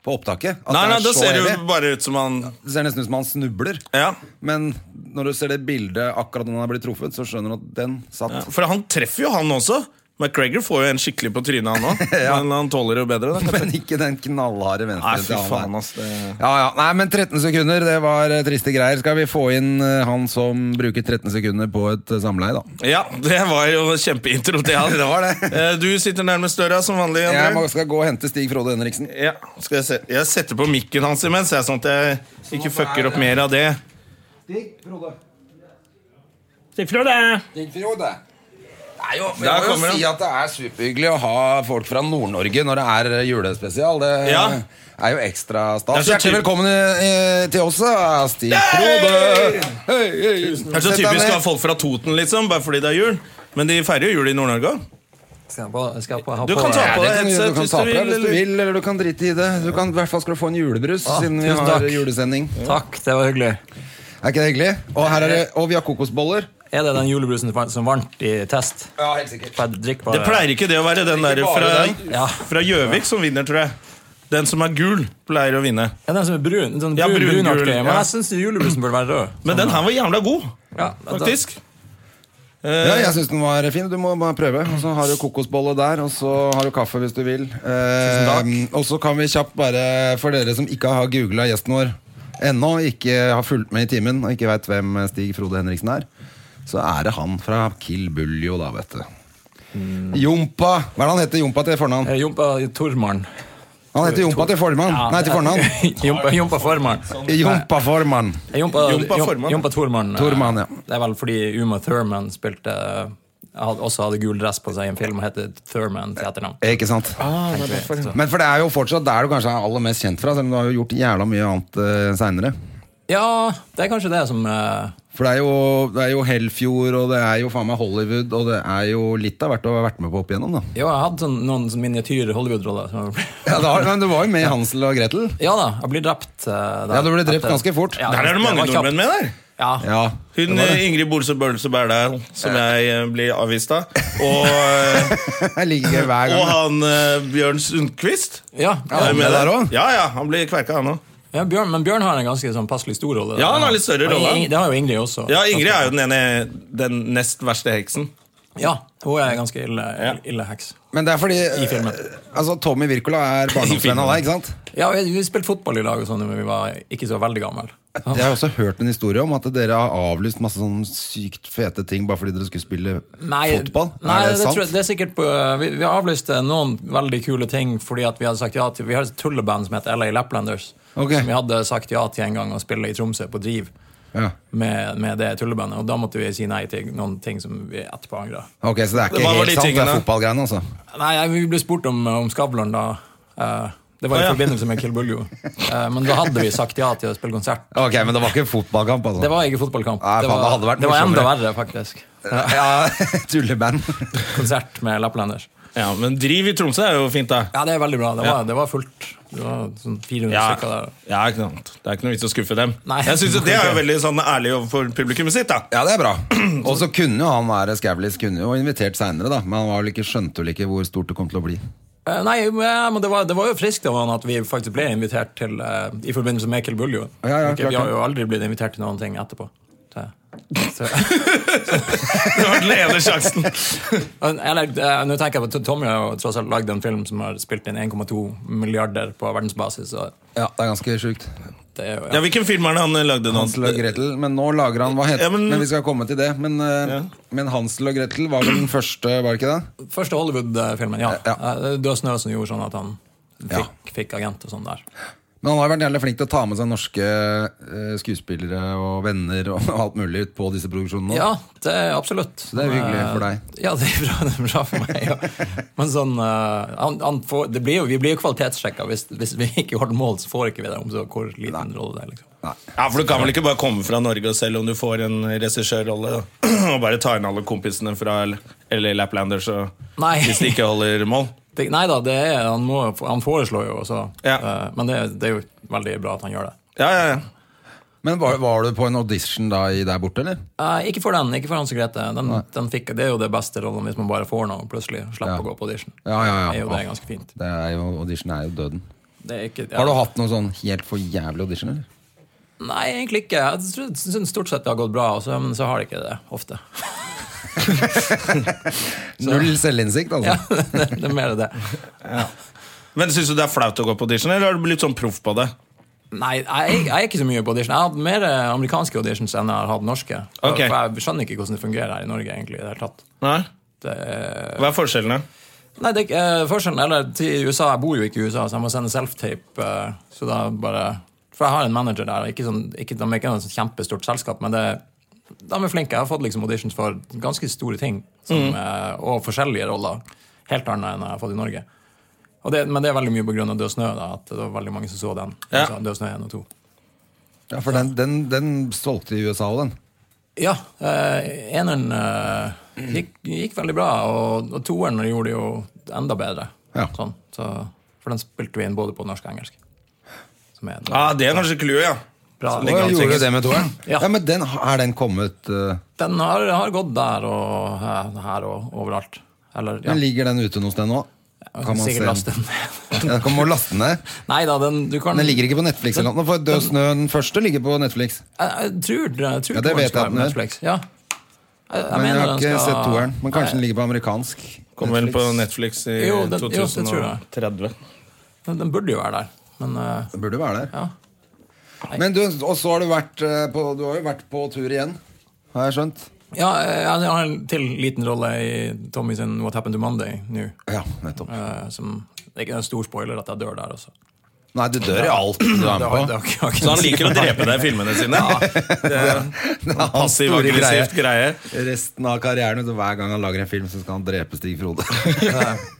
på opptaket. at Nei, nei, er det så ser jo heavy. bare ut som han det ser nesten ut som han snubler. Ja. Men når du ser det bildet akkurat når han er blitt truffet, så skjønner du at den satt. For han treffer jo han også. McGregor får jo en skikkelig på trynet, han òg. Ja. Men han tåler det jo bedre. Da, kanskje. Men ikke den knallharde Nei, venstre fy faen, altså. ass. Det... Ja, ja. Nei, men 13 sekunder, det var eh, triste greier. Skal vi få inn eh, han som bruker 13 sekunder på et eh, samleie, da? Ja, det var jo kjempeintro til han. Det var det. Eh, Du sitter nærmest døra som vanlig. André. Jeg må, skal gå og hente Stig Frode Henriksen. Ja, skal jeg, se. jeg setter på mikken hans imens, jeg, sånn at jeg ikke fucker opp mer av det. Stig Frode. Stig Frode! Stig Frode. Det er jo, vi Der må kommer jo si han. at det er superhyggelig å ha folk fra Nord-Norge når det er eh, julespesial. Det eh, Ja. er jo ekstra stas. Det er så Hjertelig typ- velkommen eh, til oss, eh, Stig Frode. Hei, hei. Det er så Sett deg typisk å ha ned. folk fra Toten, liksom, bare fordi det er jul. Men de feirer jo jul i Nord-Norge òg. Skal jeg på, skal jeg på, ha Du på kan ta Ja, på det deg kan du gjøre. headset Du kan hvis ta du på deg vil. hvis du eller- vil, eller du kan drite i det. Du kan i hvert fall skal du få en julebrus Ah, siden vi tusen har takk. julesending. Takk, det var hyggelig. Er ikke det hyggelig? Og, her er det, og vi har kokosboller. Er det den julebrusen som var- som varmt i test? Ja, helt sikkert. Får jeg Det drikke bare? pleier ikke det å være den der Ikke bare den. fra Ja. fra Gjøvik som vinner, tror jeg. Den som er gul, pleier å vinne. Er den som er brun? Sånn brun, Ja, brun, brun, gul, Men ja. jeg syns julebrusen burde være rød. Men den her var jævla god, Ja, da- faktisk. Ja, jeg syns den var fin. Du må bare prøve. Og så har du kokosbolle der, og så har du kaffe hvis du vil. Eh, og så kan vi kjapt bare, for dere som ikke har googla gjesten vår ennå, ikke har fulgt med i timen og ikke veit hvem Stig Frode Henriksen er, så er det han fra Kill Buljo, da, vet du. Jompa. Hva er det han heter Jompa til fornavn? Eh, Jompa Tormann. Han heter Jompa til formann. Ja. Nei, til fornavn. Jompa, Jompa Formann. Jompa formann. Eh, Jompa, Jompa Jom- Formann. Jompa Tormann. eh, Tormann, ja. Det er vel fordi Uma Thurman spilte eh, hadde, også hadde gul dress på seg i en film og het Thurman til etternavn. Ikke sant? Ah, Men for det er jo fortsatt der du kanskje er aller mest kjent fra, selv om du har jo gjort jævla mye annet uh, seinere. Ja, det er kanskje det som eh, For det er, jo, det er jo Hellfjord, og det er jo faen meg Hollywood, og det er jo litt av hvert å ha vært med på opp igjennom, da. Jo, jeg hadde sånn, noen sånn miniatyr Hollywood-roller. som jeg- Ja, da men du var jo med i Hansel og Gretel. Ja da, jeg blir drept. eh, der. Ja, du ble drept Etter- ganske fort. Der er det mange var kjapt. nordmenn med der. Ja. Ja. Hun Ingrid Bolse Bølse Berdal, som jeg eh, blir avvist av. Og, eh, Jeg liker det hver og gang. han eh, Bjørn Sundquist. Ja, Ja, ja. han med der også? Ja, ja, han blir kverka, han òg. ja Bjørn, Men Bjørn har en ganske sånn passelig stor rolle. Ja, han har litt større Og rolle. Ing- Det har jo Ingrid også. Ja, Ingrid er jo den ene Den nest verste heksen. Ja, Hun er ganske ille, ille heks. Men det er fordi eh, I filmen. Altså, Tommy Wirkola er barndomsvenn av deg, ikke sant? Ja, Vi, vi spilte fotball i lag og sånn da vi var ikke så veldig gamle. Jeg har også hørt en historie om at dere har avlyst masse sånn sykt fete ting bare fordi dere skulle spille fotball. Nei, er det, det, sant? tror jeg, det er sikkert på, eh, vi, vi avlyste noen veldig kule ting fordi at vi hadde sagt ja til Vi har et tulleband som heter LA Laplanders. Ok. Som vi hadde sagt ja til en gang å spille i Tromsø på Driv Ja. med, med det tullebandet. Og da måtte vi si nei til noen ting som vi etterpå angra. Ok, Så det er ikke Hva var helt de sant, det tingene? er fotballgreiene, altså? Nei, jeg- vi ble spurt om, om Skavlan da. Eh, det var Å, i ja. forbindelse med Kill Buljo. Eh, men da hadde vi sagt ja til å spille konsert. Ok, men det var ikke fotballkamp, altså? Det var ikke fotballkamp. Nei, det, faen, var, det hadde vært var enda morsommere. verre, faktisk. Ja, tulleband. Konsert med Lapplanders. Ja, Men driv i Tromsø er jo fint, da. Ja, det er veldig bra. Det var, det var fullt. Det var sånn 400 Ja, stykker der. ja ikke sant. Det er ikke noe vits å skuffe dem. Nei. Jeg synes jo Det er jo veldig sånn ærlig overfor publikummet sitt. da Ja, det er bra. Og så kunne jo han være Skavlis kunne jo invitert seinere, da. Men han var vel ikke, skjønte vel ikke hvor stort det kom til å bli. Eh, nei, men men det var, det var jo friskt av han at vi faktisk ble invitert til eh, I forbindelse med Kill Buljo. Ja, ja, Ok, klart vi har det. jo aldri blitt invitert til noen ting etterpå. Så, så. Det var den ene sjansen Men Eller, eh, nå tenker jeg på Tommy har jo tross alt lagd en film som har spilt inn 1,2 milliarder på verdensbasis. Og Ja, det er ganske sjukt. det er jo, Ja, Hvilken film er det han eh, lagde nå? Hansel og Gretel, men nå lager han hva heter Ja, men- men, vi skal komme til det. Men, eh, men Hansel og Gretel var vel den første, var det ikke det? Første Hollywood-filmen, ja. Ja. Eh, Det var Snø som gjorde sånn at han Ja. fikk, fikk agent og sånn der. Men han har vært jævlig flink til å ta med seg norske eh, skuespillere og venner og alt mulig ut på disse produksjonene. Ja, det er absolutt. det er hyggelig for deg. Ja, det er bra, det er bra for meg. Ja. Men sånn, eh, han, han får, det blir jo, vi blir jo kvalitetssjekka. Hvis, hvis vi ikke holder mål, så får ikke vi det om så hvor liten rolle det er. liksom. Ja, for Du kan vel ikke bare komme fra Norge og selv om du får en regissørrolle, og bare ta inn alle kompisene fra L- LA Laplanders og Nei. hvis de ikke holder mål? Det, nei da, det er, han, må, han foreslår jo også. Ja. eh, Men det, det er jo veldig bra at han gjør det. Ja, ja, ja Men var, var du på en audition da i der borte, eller? Eh, ikke for den, ikke for Hans Grete. Den, den fikk, det er jo det beste rollen hvis man bare får noe og plutselig slipper Ja. å gå på audition. Ja, ja, ja. Det er jo det Åh. ganske fint. Det er jo, audition er jo døden. Det er ikke, ja. Har du hatt noen sånn helt for jævlig audition, eller? altså, Nei, egentlig ikke. Jeg tror- synes stort sett det har gått bra, og så- men så har det ikke det ofte. Null selvinnsikt, altså. Ja, det, det er mer det. Men Syns du det er flaut å gå på audition, eller har du blitt sånn proff på det? Nei, jeg, jeg er ikke så mye på audition. Jeg har hatt mer eh, amerikanske auditions enn jeg har hatt norske. For- Ok. For jeg skjønner ikke hvordan det fungerer her i Norge, egentlig. i Det hele tatt. Nei? Det, er- Hva er forskjellene? nei, det er ikke- eh, forskjellen Eller til USA Jeg bor jo ikke i USA, så jeg må sende self-tape. eh, Så da bare For jeg har en manager der. Ikke sånn, ikke, de er ikke noe sånn kjempestort selskap, men det, de er flinke. Jeg har fått liksom auditions for ganske store ting. Som, eh, Og forskjellige roller. Helt annet enn jeg har fått i Norge. Og det, men det er veldig mye pga. Død snø. Da, at det var veldig mange som så den. Ja. Så Død snø 1 og 2. Ja, for den, den, den solgte i USA òg, den. Ja. Eh, eneren eh, gikk, gikk veldig bra, og, og toeren gjorde det jo enda bedre. Ja. Sånn, så, for den spilte vi inn både på norsk og engelsk. Som er Ja, Det er kanskje clouet, ja. bra. Å, jeg gjorde det med toeren? Ja. ja. men den, er den kommet eh, Den har, har gått der og eh, her og overalt. Eller, ja. Men ligger den ute noe sted nå? Jeg kan sikkert laste den ned. Ja, da kan man laste den ned. Nei da, den, du kan Den ligger ikke på Netflix eller noe, for Død snø den første ligger på Netflix. Jeg, jeg tror, jeg tror Ja, det toeren vet skal jeg være den på er. Netflix. Ja. Jeg, jeg Men jeg mener har den ikke skal- sett toeren. Men kanskje Nei, den ligger på amerikansk. Kom vel på Netflix i Jo, det- jo, det tror jeg. 2030. den, den burde jo være der. Men eh, Det burde være der. ja. Men du, og så har du vært eh, på, du har jo vært på tur igjen, har jeg skjønt. Ja, jeg jeg har en til liten rolle i Tommy sin What Happened to Monday nå. Ja, nettopp. eh, som det er ikke en stor spoiler at jeg dør der også. Nei, du dør i alt du er Det har- med det på. har ikke- har ikke Så han noe å si. liker å drepe deg i filmene sine? Det er hans Passiv store greie. aggressivt greie. Resten av karrieren, vet du, hver gang han lager en film, så skal han drepe Stig Frode.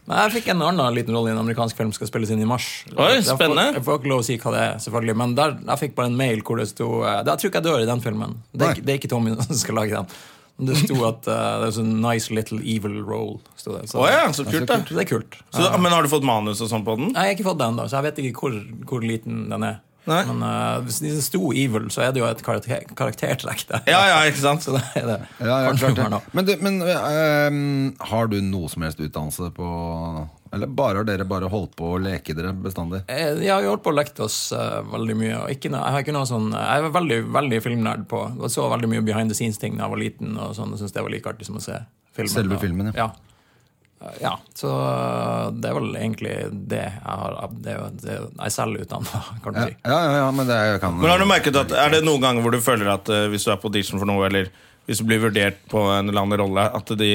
Men jeg fikk en annen liten rolle i en amerikansk film som skal spilles inn i mars. Oi, Jeg får- spennende. Jeg får ikke lov å si hva det er, selvfølgelig men der, jeg fikk bare en mail hvor det sto eh, Jeg tror ikke jeg dør i den filmen. Det er, Nei. ikke, det er ikke Tommy som skal lage den. Men Det sto at eh, det er sånn nice little evil role. Sto det. Så, Å ja, så kult, da. så det er kult. Så, men har du fått manus og sånn på den? Nei, Jeg har ikke fått den, da, så jeg vet ikke hvor, hvor liten den er. Nei. Men eh, hvis det sto evil, så er det jo et karakter, karaktertrekk der. Ja, ja, ikke sant? Så det er det. Ja, ja, Kanskje klart humor det. nå. Men, du, men ehm, har du noe som helst utdannelse på Eller bare har dere bare holdt på å leke dere bestandig? Eh, Jeg har jo holdt på å leke oss eh, veldig mye. Og ikke, noe- jeg, har ikke noe sånn, jeg var veldig, veldig filmnerd på og så veldig mye behind the scenes-ting da jeg var liten. og sånn, og syntes det var like artig som å se filmen. Selve Og- filmen, ja. Eh, Ja, så eh, det er vel egentlig det jeg har det, er jo- det, er jo- Jeg er selv utdanna, kan du Ja, si. ja, ja, ja men det er- kan Men har du merket at Er det noen ganger hvor du føler at eh, hvis du er på audition for noe, eller hvis du blir vurdert på en eller annen rolle, at de,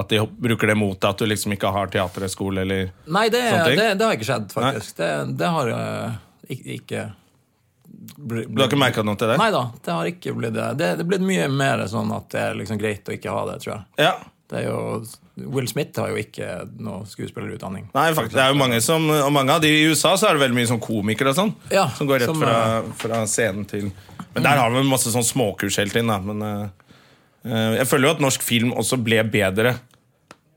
at de bruker det mot deg? At du liksom ikke har teaterhøyskole, eller Nei, det, Sånne ting? det, det har ikke skjedd, faktisk. Det, det har eh, ik- ikke bli- Du har ikke merka noe til det? Nei da, det har ikke blitt det. Det det er blitt mye mer sånn at det er liksom greit å ikke ha det, tror jeg. Ja. Det er jo, Will Smith har jo ikke noe skuespillerutdanning. Nei, faktisk, det er jo mange som Og mange av de i USA så er det veldig mye sånn komikere og sånn. Ja, som går rett som, fra, fra scenen til Men der har vi masse sånn småkurs hele tiden, da. Men eh, eh, jeg føler jo at norsk film også ble bedre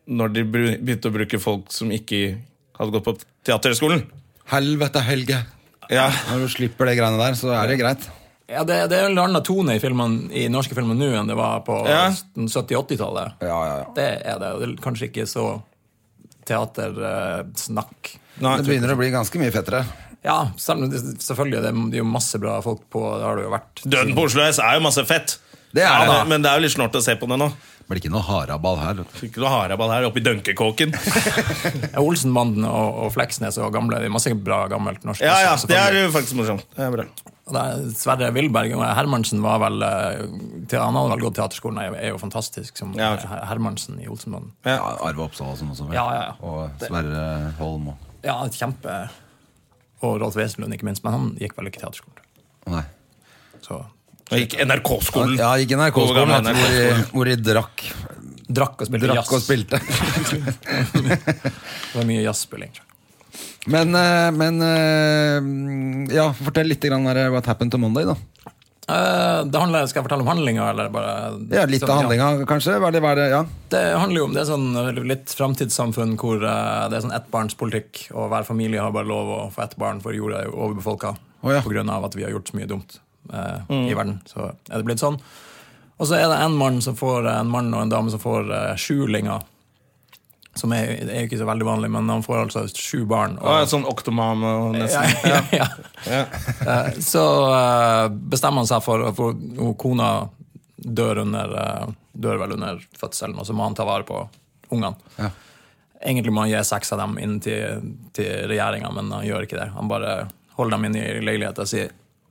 når de bru- begynte å bruke folk som ikke hadde gått på teaterhøyskolen. Helvete, Helge! Ja. Når du slipper de greiene der, så er det greit. Ja, Det, det er en annen tone i, filmen, i norske filmer nå enn det var på Ja. 70-80-tallet. Ja, ja, ja. Det er det. og det er Kanskje ikke så teatersnakk. Nei, Det begynner å bli ganske mye fettere. Ja, selv, om det- selvfølgelig. Det er- det er jo masse bra folk på. Det har det jo vært. Døden på Oslo S er jo masse fett. Det er ja, det. da, Men det er jo litt snålt å se på det nå. Blir ikke noe haraball her. Fikk Ikke noe haraball her oppi dunkekåken. Ja, Olsenbanden og, og Fleksnes og gamle. Det er masse bra gammelt norsk. Ja, ja, også, det er selvfølgelig. jo faktisk morsomt. Det er bra. Og det er Sverre Wilberg og Hermansen var vel eh, til, Han hadde vel gått teaterskolen, er jo, er jo fantastisk som Ja, ok. Her- Hermansen i Olsenbanden. Ja, Arve Oppsal og sånn også. vel? Ja, ja, ja. Og Sverre Holm og Ja, et kjempe Og Rolf Wesenlund, ikke minst. Men han gikk vel ikke teaterskolen. Nei. Så Da gikk NRK-skolen. Ja, ikke Hvor NRK-skolen, gammel vet er du, hvor, de- hvor de drakk, drakk og spilte jazz. drakk og spilte. Det var mye jazzspilling. tror jeg. Men, eh, men eh, Ja, fortell litt grann der, What Happened to Monday, da. Eh, det handler, skal jeg fortelle om handlinga, eller bare Ja, litt sånn, av handlinga, kanskje? Hva er det, hva er det, ja. Det handler jo om det er sånn litt framtidssamfunn hvor eh, det er sånn ettbarnspolitikk, og hver familie har bare lov å få ett barn, for jorda er jo overbefolka Å ja. Mm. pga. at vi har gjort så mye dumt eh, i verden. Så er det blitt sånn. Og så er det en mann, som får, en mann og en dame som får eh, sjulinger. Som er, det er jo ikke så veldig vanlig, men han får altså sju barn. Det var sånn oktoman og ja, nesten. ja, ja. Eh, Så eh, bestemmer han seg for, for og Kona dør under eh, dør vel under fødselen, og så må han ta vare på ungene. Egentlig må han gi seks av dem inn til, til regjeringa, men han gjør ikke det. Han bare holder dem inne i leiligheta si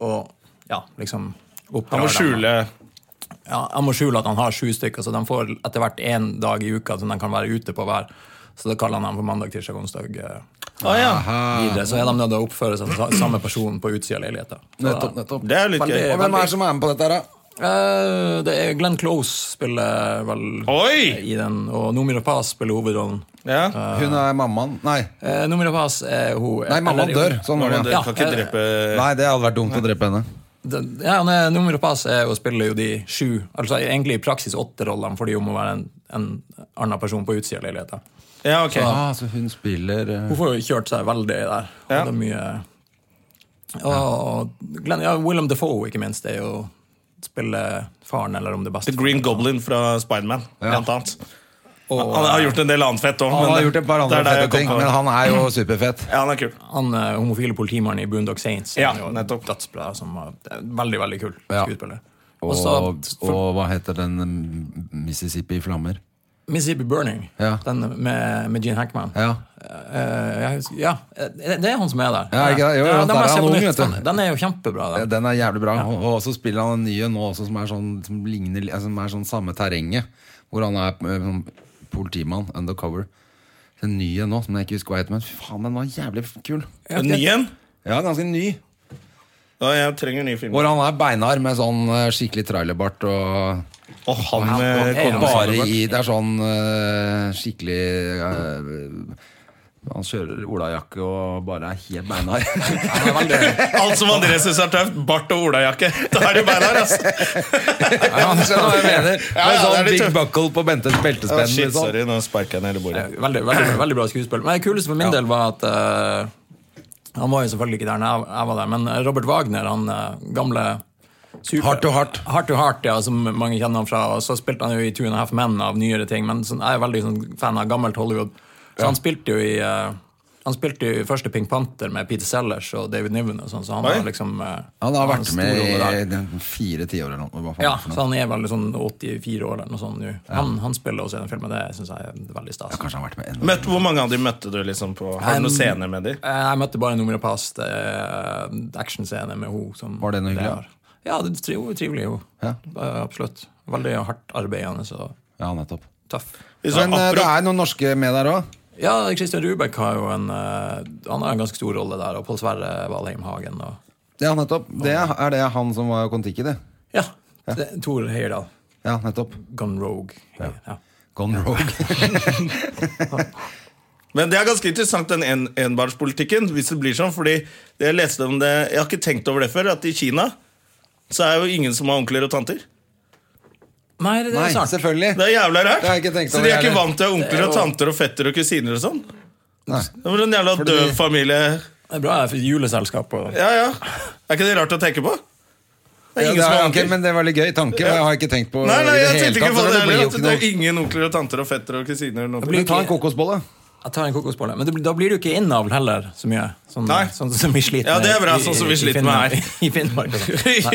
og ja, liksom oppdrar Han må dem. skjule Ja, han må skjule at han har sju stykker, så de får etter hvert én dag i uka som de kan være ute på hver. Så da kaller han dem for mandag, tirsdag, onsdag. eh, Å ja. Videre, så er de nødt til å oppføre seg som sa- samme person på utsida av leiligheta. Så da- Nettopp, nettopp. Det er jo litt Veldig- gøy. Og hvem er det som er med på dette her, da? Eh, det er Glenn Close spiller vel Oi! i den, og Noomi Rapaz spiller hovedrollen. Ja. Eh, Hun er mammaen. Nei, Eh, Noomi Rapaz er hun Nei mammaen eller- dør. Sånn var det. Men ja. dere kan ikke Ja, eh, drepe Nei, det hadde vært dumt å drepe henne. Den- Ja, nei, Noomi Rapaz er, hun spiller jo de sju, altså egentlig i praksis åtte rollene, fordi hun må være en, en annen person på utsida av leiligheta. Ja, ok. Ah, så hun spiller eh, Hun får jo kjørt seg veldig der. Ja. Og det er mye og Glenn, ja, Willem Defoe, ikke minst, er jo spiller faren, eller om det er The best. Green Goblin fra Spiderman, blant annet. Og, Han har gjort en del annet fett òg. Han har gjort et par andre fete ting, men han er jo superfett. Ja, han er kul. Han eh, homofile politimannen i Boondock Saints Ja, er jo nettopp. dødsbra. Som var det er veldig veldig kul Ja. skuespiller. Og så Og, og hva heter den mm, Mississippi i flammer? Mississippi Burning, Ja. den med, med Gene Hackman. Ja. Eh, jeg husker- ja, eh, det er han som er der. Ja, ikke det? Jo, jo, den der må er jeg se han på ung, nytt. vet du. Den- Den er jo kjempebra. Den. Den er jævlig bra. Og- Og så spiller han en ny en nå også, som er sånn som ligner, li- som er sånn samme terrenget. Hvor han er eh, sånn politimann, undercover. Den nye nå, som jeg ikke husker hva heter, men fy faen, den var jævlig kul. En ny en? Ja, ganske ny. Ja, jeg trenger nye filmer. Hvor han er beinhard med sånn eh, skikkelig trailerbart og Og han med Ja, Konrad Bare Sandberg. i Det er sånn eh, skikkelig eh, Han kjører olajakke og bare er helt beinhard. Den er veldig, Alt som André syns er tøft. Bart og olajakke. Da er det beinhard, ass. Ja, du skjønner hva jeg mener. Ja, Med ja, det sånn er litt big tøft. buckle på Bentes beltespenn. shit, liksom. sorry. Nå sparka jeg ned i bordet. veldig, veldig, veldig bra skuespill. Men det kuleste for min del var at eh, Han var jo selvfølgelig ikke der når jeg, jeg var der, men Robert Wagner, han eh, gamle super- Heart to heart. Heart to Heart, ja, som mange kjenner han fra. Og så spilte han jo i Two and a Half Men av nyere ting, men sånn, jeg er veldig sånn, fan av gammelt Hollywood. Så han spilte jo i eh, Han spilte jo i første Pink Panther med Peter Sellers og David Niven og sånn, så han Oi. var liksom eh, Han har vært en med storrolle der. i den fire tiår eller noe. hva faen Ja, for noe. så han er vel sånn 84 år eller noe sånt nå. Han, han spiller også i den filmen, det syns jeg er veldig stas. Kanskje han har vært med enda Møtt, hvor mange av de møtte du liksom på Har du noen Um, scener med de? Eh, Jeg møtte bare nummer og pass til eh, actionscene med hun som Var det noe hyggelig? har. Ja, det er jo trivelig, hun. Ja. Eh, Absolutt. Veldig hardt arbeidende og Ja, nettopp. tøff. Hvis du Men eh, har det apro- er noen norske med der òg. Ja, Christian Rubek har jo en eh, Han har en ganske stor rolle der, og Pål Sverre Valheim Hagen. Og, Ja, nettopp. Det er, er det han som var Kon-Tiki, det. ja, det- Tor Heyerdahl. Ja, nettopp. Gun Rogue. Ja. Gone rogue. Men det er ganske interessant, den en, enbarnspolitikken, hvis det blir sånn. Fordi jeg leste om det Jeg har ikke tenkt over det før, at i Kina så er jo ingen som har onkler og tanter. Nei, det, det Nei, er sant. selvfølgelig. Det er jævla Det har rart. jeg ikke tenkt Så over de er ikke heller. vant til å ha onkler og Det er jo- tanter og fetter og kusiner og sånn. Nei. Det var en jævla Fordi- døv familie. Det er bra for juleselskap. Og, Ja, ja. Er ikke det rart å tenke på? Det er Ja, ingen det som er, har ok, onkler. men det var litt gøy tanke. men Jeg har ikke tenkt på Nei, nei, i jeg det hele tenkte ikke på tatt, så det blir heller. jo at ikke Det er noe- ingen onkler og tanter og fetter og kusiner. og noe. Det blir Men Ta en kokosbolle. Jeg tar en kokosbolle. Men det, blir- da blir du ikke innavl heller så mye. Sånn, Nei. sånn som vi sliter Ja, det er bra, i- sånn som vi i- i sliter Finland- med her. I Finnmark. og sånn.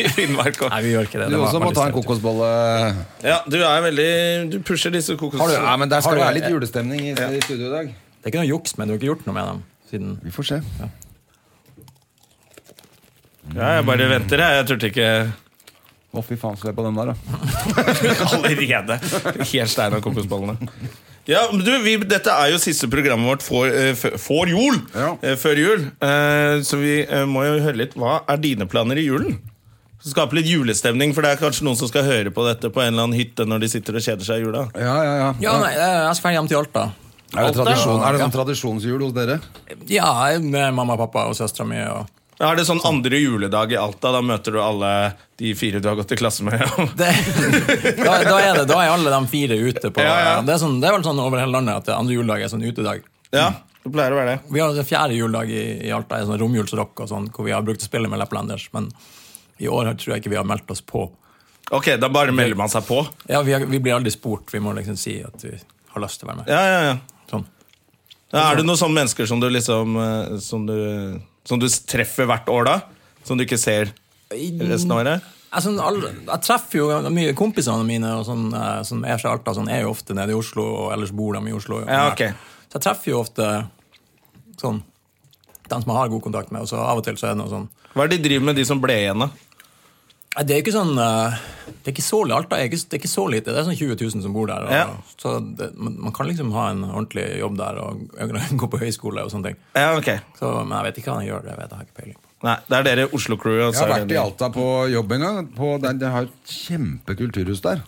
I Finnmark også. Nei, vi gjør ikke det. Du det var også må veldig ta en stereotyp. kokosbolle. Ja, du er veldig Du pusher disse kokos... Har du, ja, men Der Har skal du- det være litt julestemning i, i studio i dag. Det er ikke noe juks, men du har ikke gjort noe med dem siden Vi får se. Ja, jeg bare venter, jeg. Jeg turte ikke Å, fy faen, se på den der, da. allerede. Helt stein av kokosballene. Ja, men du, vi, Dette er jo siste programmet vårt for, eh, f- for jul. Ja. Eh, Før jul. Eh, Så vi eh, må jo høre litt Hva er dine planer i julen? Skape litt julestemning, for det er kanskje noen som skal høre på dette på en eller annen hytte når de sitter og kjeder seg i jula. Ja, ja, ja. Ja, nei, jeg jeg skal hjem til Alta. Er det, Alt er- tradisjon, er det sånn tradisjonsjul hos dere? Ja, jeg er med mamma og pappa og søstera mi. Og Er det sånn andre juledag i Alta? Da møter du alle de fire du har gått i klasse med? det, da, da, er det, da er alle de fire ute på Ja, ja. Det, er sånn, det er vel sånn over hele landet at det andre juledag er sånn utedag. Ja, det pleier å være det. Vi har den fjerde juledag i, i Alta, er sånn romjulsrock og sånn, hvor vi har brukt å spille med Lepplanders, men i år tror jeg ikke vi har meldt oss på. Ok, da bare melder man seg på. Ja, vi, har, vi blir aldri spurt. Vi må liksom si at vi har lyst til å være med. Ja, ja, ja. Sånn. Ja, er det noen sånne mennesker som du liksom eh, som du, som du treffer hvert år, da? Som du ikke ser resten av året? Jeg, sånn, alle, jeg treffer jo mye kompisene mine og sånn, eh, som er fra Alta, sånn, er jo ofte nede i Oslo, og ellers bor de i Oslo. og Ja, sånn der. ok. Så jeg treffer jo ofte sånn, dem som jeg har god kontakt med, og så av og til så er det noe sånn Hva er det de driver med, de som ble igjen, da? Nei, Det er ikke sånn eh, Det er ikke så lite. Alta er ikke, det er ikke så lite. Det er sånn 20 000 som bor der. Og, Ja. Så det, man, man kan liksom ha en ordentlig jobb der og gå på høyskole og sånne ting. Ja, ok. Så, men jeg vet ikke hva han gjør. Det vet jeg har ikke peiling på. Nei, det er dere Oslo-crewet. og Jeg så har er vært det- i Alta på jobb en gang. På, det, det har et kjempekulturhus der.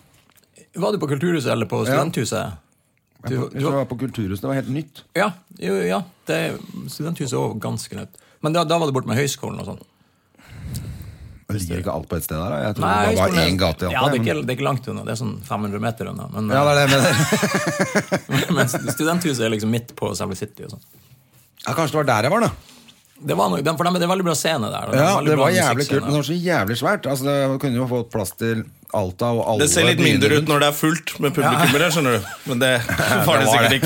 Var du på Kulturhuset eller på Studenthuset? Du, Jeg du, tror jeg var på kulturhuset, Det var helt nytt. ja, jo, ja det, Studenthuset er også ganske nytt. Men da, da var det borte med høyskolen og sånn. Jeg ligger ikke alt på et sted der. da. Jeg tror Nei, det var høyskolen bare er- én gate i Alta. Ja, det er, men- ikke, det er ikke langt unna. Det er sånn 500 meter unna. Men, ja, det er det, jeg mener. men studenthuset er liksom midt på selve City. og sånn. ja, kanskje det var der jeg var, da. Det var noe, den- for dem, det er veldig bra scene der. og Ja, veldig det bra var jævlig musikkscene. kult, men det var så jævlig svært. Altså, det kunne jo fått plass til Alta og alle Det ser litt byene mindre ut rundt. når det er fullt med publikummere, skjønner du. Men det var det var sikkert det.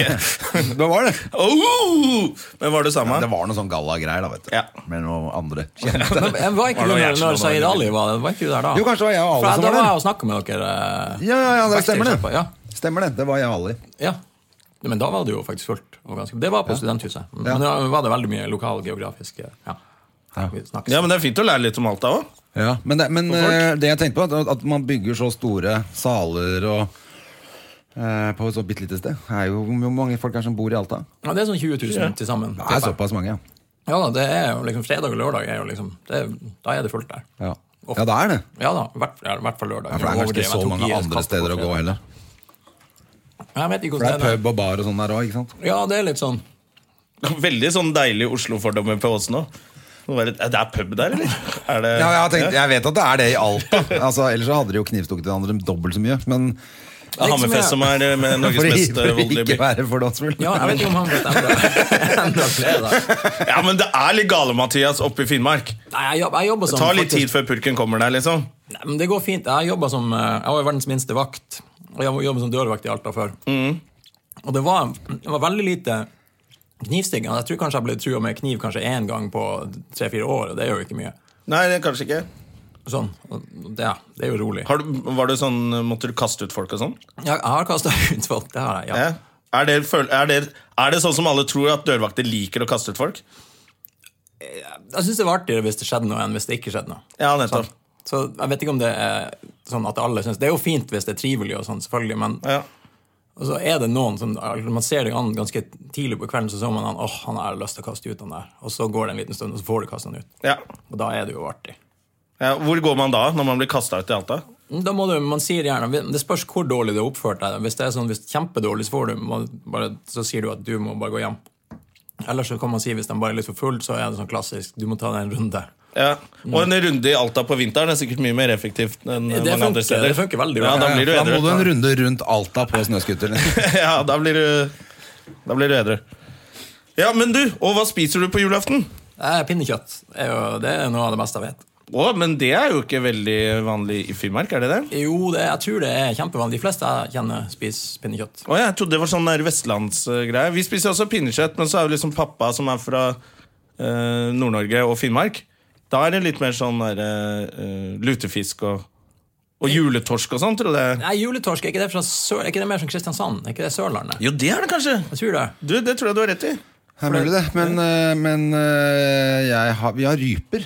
ikke. Det var det. Oh! Men var det samme? Det var noe sånn gallagreier, da, vet du. Ja. Med noen andre kjente. Men jeg var ikke Var det du noe der Gjertsen når og Zahid noe Ali var det? Var ikke du der da? Jo, kanskje det var jeg og For alle som Da var var jeg der. og snakka med dere. eh, Ja, ja, ja, det stemmer backstage etterpå. det. Ja, Stemmer det. Det var jeg og Ali. ja. Ja, Men da var det jo faktisk fullt. Og ganske, det var på studenthuset. Men da var det veldig mye lokalgeografisk eh, ja. Vi snakkes. Ja, men det er fint å lære litt om Alta òg. Ja, men det, men, Og folk. eh, det jeg tenkte på, at, at man bygger så store saler og eh, på et så bitte lite sted. Det er jo Hvor mange folk er det som bor i Alta? Ja, det er sånn 20 000 til sammen. Det er såpass mange, ja. Ja da, det er jo liksom fredag og lørdag er jo liksom det, er- Da er det fullt der. Ja, Ofte. ja det er det. Ja da, i hvert, ja, i hvert fall lørdag. Ja, for det er kanskje Overdrevet, ikke så jeg tok i mange et andre kast på steder å gå fredag. heller. Jeg vet ikke For det hvordan er det er. pub og bar og sånn der òg, ikke sant? Ja, det er litt sånn Veldig sånn deilig Oslo-fordommer på oss nå. Nå er Det er det er pub der, eller? Er det, Ja, jeg, har tenkt, jeg vet at det er det i Alta. Altså, ellers så hadde de jo knivstukket hverandre dobbelt så mye. Men Det liksom, er Hammerfest som er eh, med for, Norges i, mest eh, for voldelige by. ikke være fordomsfull. Ja, jeg vet ikke om han bestemte enda fredag. Ja, men det er litt gale, Mathias, oppe i Finnmark. Nei, jeg, jobb, jeg jobber Det som tar litt faktisk- tid før purken kommer der, liksom. Nei, men det går fint. Jeg jobba som eh, Jeg var verdens minste vakt. Og jeg jobba som dørvakt i Alta før. Mm. Og det var, det var veldig lite knivstikking. Altså, Jeg tror kanskje jeg ble trua med kniv kanskje én gang på tre-fire år, og det er jo ikke mye. Nei, det er kanskje ikke. Sånn, og det, det er jo rolig. Har du, var det sånn, eh, Måtte du kaste ut folk og sånn? Jeg, jeg har kasta ut folk, det har jeg. ja. Ja. Er, det, føl- er, det, er det sånn som alle tror, at dørvakter liker å kaste ut folk? Jeg syns det var artigere hvis det skjedde noe, enn hvis det ikke skjedde noe. Ja, nettopp. Så jeg vet ikke om det er sånn at alle synes Det er jo fint hvis det er trivelig, og sånn, selvfølgelig, men Ja. Og så er det noen som altså, Man ser det an ganske tidlig på kvelden, så ser man han, åh, han har lyst til å kaste ut han der. Og så går det en liten stund, og så får du kaste han ut. Ja. Og da er det jo artig. Ja, hvor går man da, når man blir kasta ut i Alta? Da må du, man sier gjerne, Det spørs hvor dårlig du har oppført deg. Hvis det er sånn, hvis det er kjempedårlig, så, får du, man bare, så sier du at du må bare gå hjem. Ellers så kan man si hvis de bare er litt for full, så er det sånn klassisk. Du må ta deg en runde. Ja. Og en runde i Alta på vinteren er sikkert mye mer effektivt enn Det mange funker- andre steder. det funker veldig bra. Ja, da blir du da må du en edru. runde rundt Alta på snøscooter. liksom. Ja, da blir du, da blir du edru. Ja, men du, og hva spiser du på julaften? Eh, Pinnekjøtt er jo, det er noe av det beste jeg vet. Å, men det er jo ikke veldig vanlig i Finnmark, er det det? Jo, det, jeg tror det er kjempevanlig. De fleste jeg kjenner, spiser pinnekjøtt. Å, jeg trodde det var sånn der vestlandsgreie. Vi spiser også pinnekjøtt, men så er jo liksom pappa som er fra eh, Nord-Norge og Finnmark. Da er det litt mer sånn der, eh, lutefisk og, og juletorsk og sånn, tror jeg. Nei, juletorsk, er ikke det, fra Sør, er ikke det mer som Kristiansand? Er ikke det Sørlandet? Jo, det er det kanskje. Jeg tror det. Du, Det tror jeg du har rett i. Det er mulig, det. Men, eh, men eh, jeg har, vi har ryper.